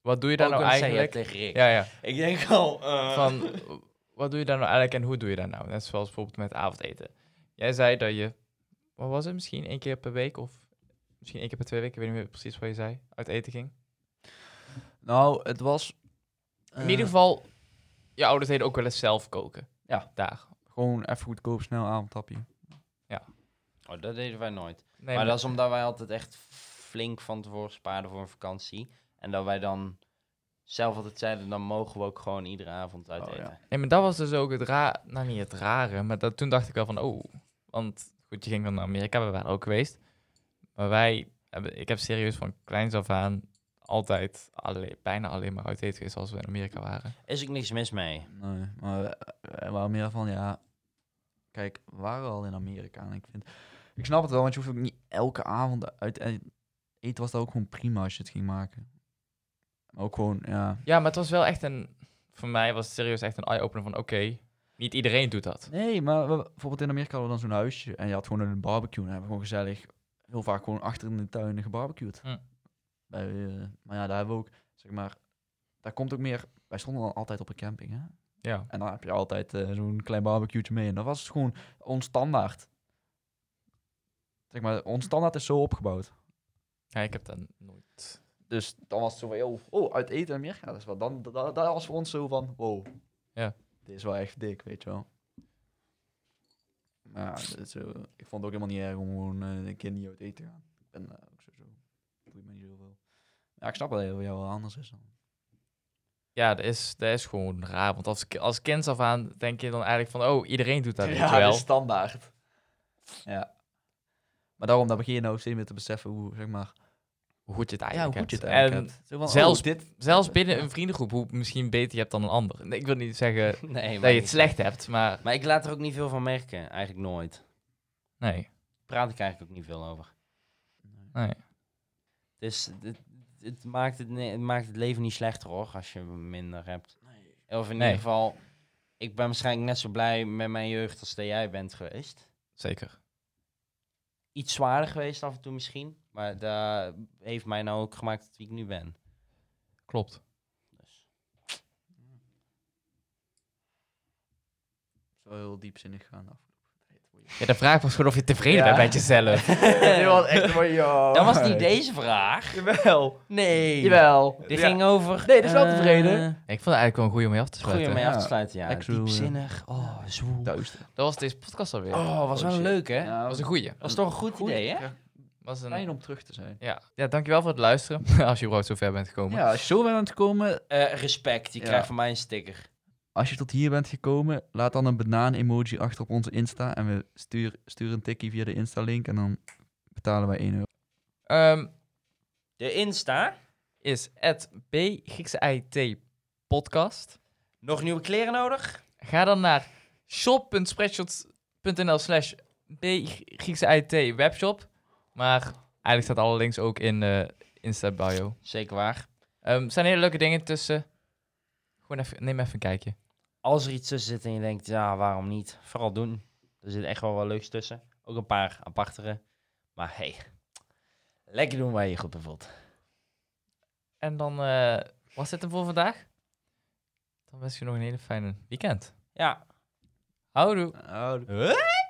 wat doe je daar
Ook
nou
al zei je
eigenlijk?
tegen Rick.
Ja, ja.
Ik denk al. eh,
Van, wat doe je daar nou eigenlijk en hoe doe je dat nou? Net zoals bijvoorbeeld met avondeten. Jij zei dat je, wat was het, misschien één keer per week of misschien één keer per twee weken, ik weet niet meer precies wat je zei, uit eten ging.
Nou, het was...
In
Eh.
ieder geval, je ouders deden ook wel eens zelf koken.
Ja.
Daar.
Gewoon even goedkoop, snel avondtapje.
Oh, dat deden wij nooit.
Nee,
maar dat is omdat wij altijd echt flink van tevoren spaarden voor een vakantie. En dat wij dan zelf altijd zeiden, dan mogen we ook gewoon iedere avond uit
Oh, ja.
eten.
Nee, maar dat was dus ook het raar, nou niet het rare, maar dat, toen dacht ik wel van, oh, want goed, je ging dan naar Amerika, we waren ook geweest. Maar wij, hebben, ik heb serieus van kleins af aan altijd alleen, bijna alleen maar uit eten geweest als we in Amerika waren.
Is ook niks mis mee.
Nee, maar we- we waren meer van, ja... Kijk, we waren al in Amerika en ik vind... Ik snap het wel, want je hoeft ook niet elke avond uit... En eten was daar ook gewoon prima als je het ging maken. Maar ook gewoon, ja...
Ja, maar het was wel echt een, voor mij was het serieus echt een eye-opener van, oké, niet iedereen doet dat.
Nee, maar we- bijvoorbeeld in Amerika hadden we dan zo'n huisje en je had gewoon een barbecue. En hebben we gewoon gezellig, heel vaak gewoon achter in de tuin gebarbecued.
Hm.
Bij, eh, maar ja, daar hebben we ook, zeg maar, daar komt ook meer. Wij stonden dan altijd op een camping, hè?
Ja.
En daar heb je altijd eh, zo'n klein barbecue'tje mee. En dat was gewoon ons standaard. Zeg maar, ons standaard is zo opgebouwd.
ja, ik heb dat nooit.
Dus dan was het zo van, yo, oh, uit eten in Amerika. Dat, is wel, dan, da- daar was voor ons zo van, wow.
Ja.
Dit is wel echt dik, weet je wel. Maar ja, dit is, eh, ik vond het ook helemaal niet erg om gewoon eh, een keer niet uit eten te gaan. Ik ben eh, ook zo, zo, boeit me niet zoveel. Ja, ik snap wel dat het voor jou wel anders is dan.
Ja, dat is, dat is gewoon raar, want als, ki- als kind af aan denk je dan eigenlijk van, oh, iedereen doet dat weet je wel.
dat is
dus-
standaard. Ja. Maar daarom, dan begin je nou steeds meer te beseffen hoe, zeg maar,
hoe goed je het
Ja, hoe
eigenlijk
goed je
hebt.
het eigenlijk
En
hebt. Zo van,
zelfs-
oh, dit...
zelfs binnen een vriendengroep, hoe misschien beter je hebt dan een ander. Nee, ik wil niet zeggen
Nee,
dat
maar,
je het slecht hebt, maar
maar ik laat er ook niet veel van merken. Eigenlijk nooit.
nee.
Praat ik eigenlijk ook niet veel over.
nee.
Dus het, het maakt het, nee, het maakt het leven niet slechter hoor, als je minder hebt. Of in
Nee.
ieder geval, ik ben waarschijnlijk net zo blij met mijn jeugd als dat jij bent geweest.
Zeker.
Iets zwaarder geweest af en toe misschien. Maar dat heeft mij nou ook gemaakt tot wie ik nu ben.
Klopt.
Dus,
Zo heel diepzinnig gaan af.
Ja, de vraag was gewoon of je tevreden
Ja.
bent met jezelf.
Dit was echt mooi, joh.
dat was niet deze vraag.
Jawel.
Nee.
Jawel.
Die
Ja.
ging over...
Nee, dat is wel tevreden.
eh,
Ik vond het eigenlijk wel een goede om mee af te
Goeie
sluiten.
om mee
Ja.
af te sluiten, ja.
Actual, eh,
Diepzinnig. Oh, zwoel.
Duister.
Dat was deze podcast alweer.
Oh, was
Oh,
wel
shit.
leuk, hè?
Ja,
Dat was een goeie.
was toch een goed, idee, hè?
Was
Fijn
een...
om terug te zijn.
ja. ja, dankjewel voor het luisteren. Als je überhaupt zo ver bent gekomen.
Ja, als je zo bent aan het komen,
Eh, respect, je
Ja.
krijgt van mij een sticker.
Als je tot hier bent gekomen, laat dan een banaan-emoji achter op onze Insta. En we stuur, stuur een tikkie via de Insta-link en dan betalen wij 1 euro.
Ehm,
De Insta.
is at B podcast.
Nog nieuwe kleren nodig?
Ga dan naar shop.spreadshots.nl slash B webshop. Maar eigenlijk staat alle links ook in eh Insta bio.
Zeker waar.
Ehm, er zijn hele leuke dingen tussen. Gewoon even, neem even een kijkje.
Als er iets tussen zit en je denkt, ja, waarom niet? Vooral doen. Er zit echt wel wat leuks tussen. Ook een paar apartere. Maar hey, lekker doen waar je je goed bevalt.
En dan eh, was dit hem voor vandaag. Dan wens ik je nog een hele fijne weekend.
Ja.
Houdoe.
Huh?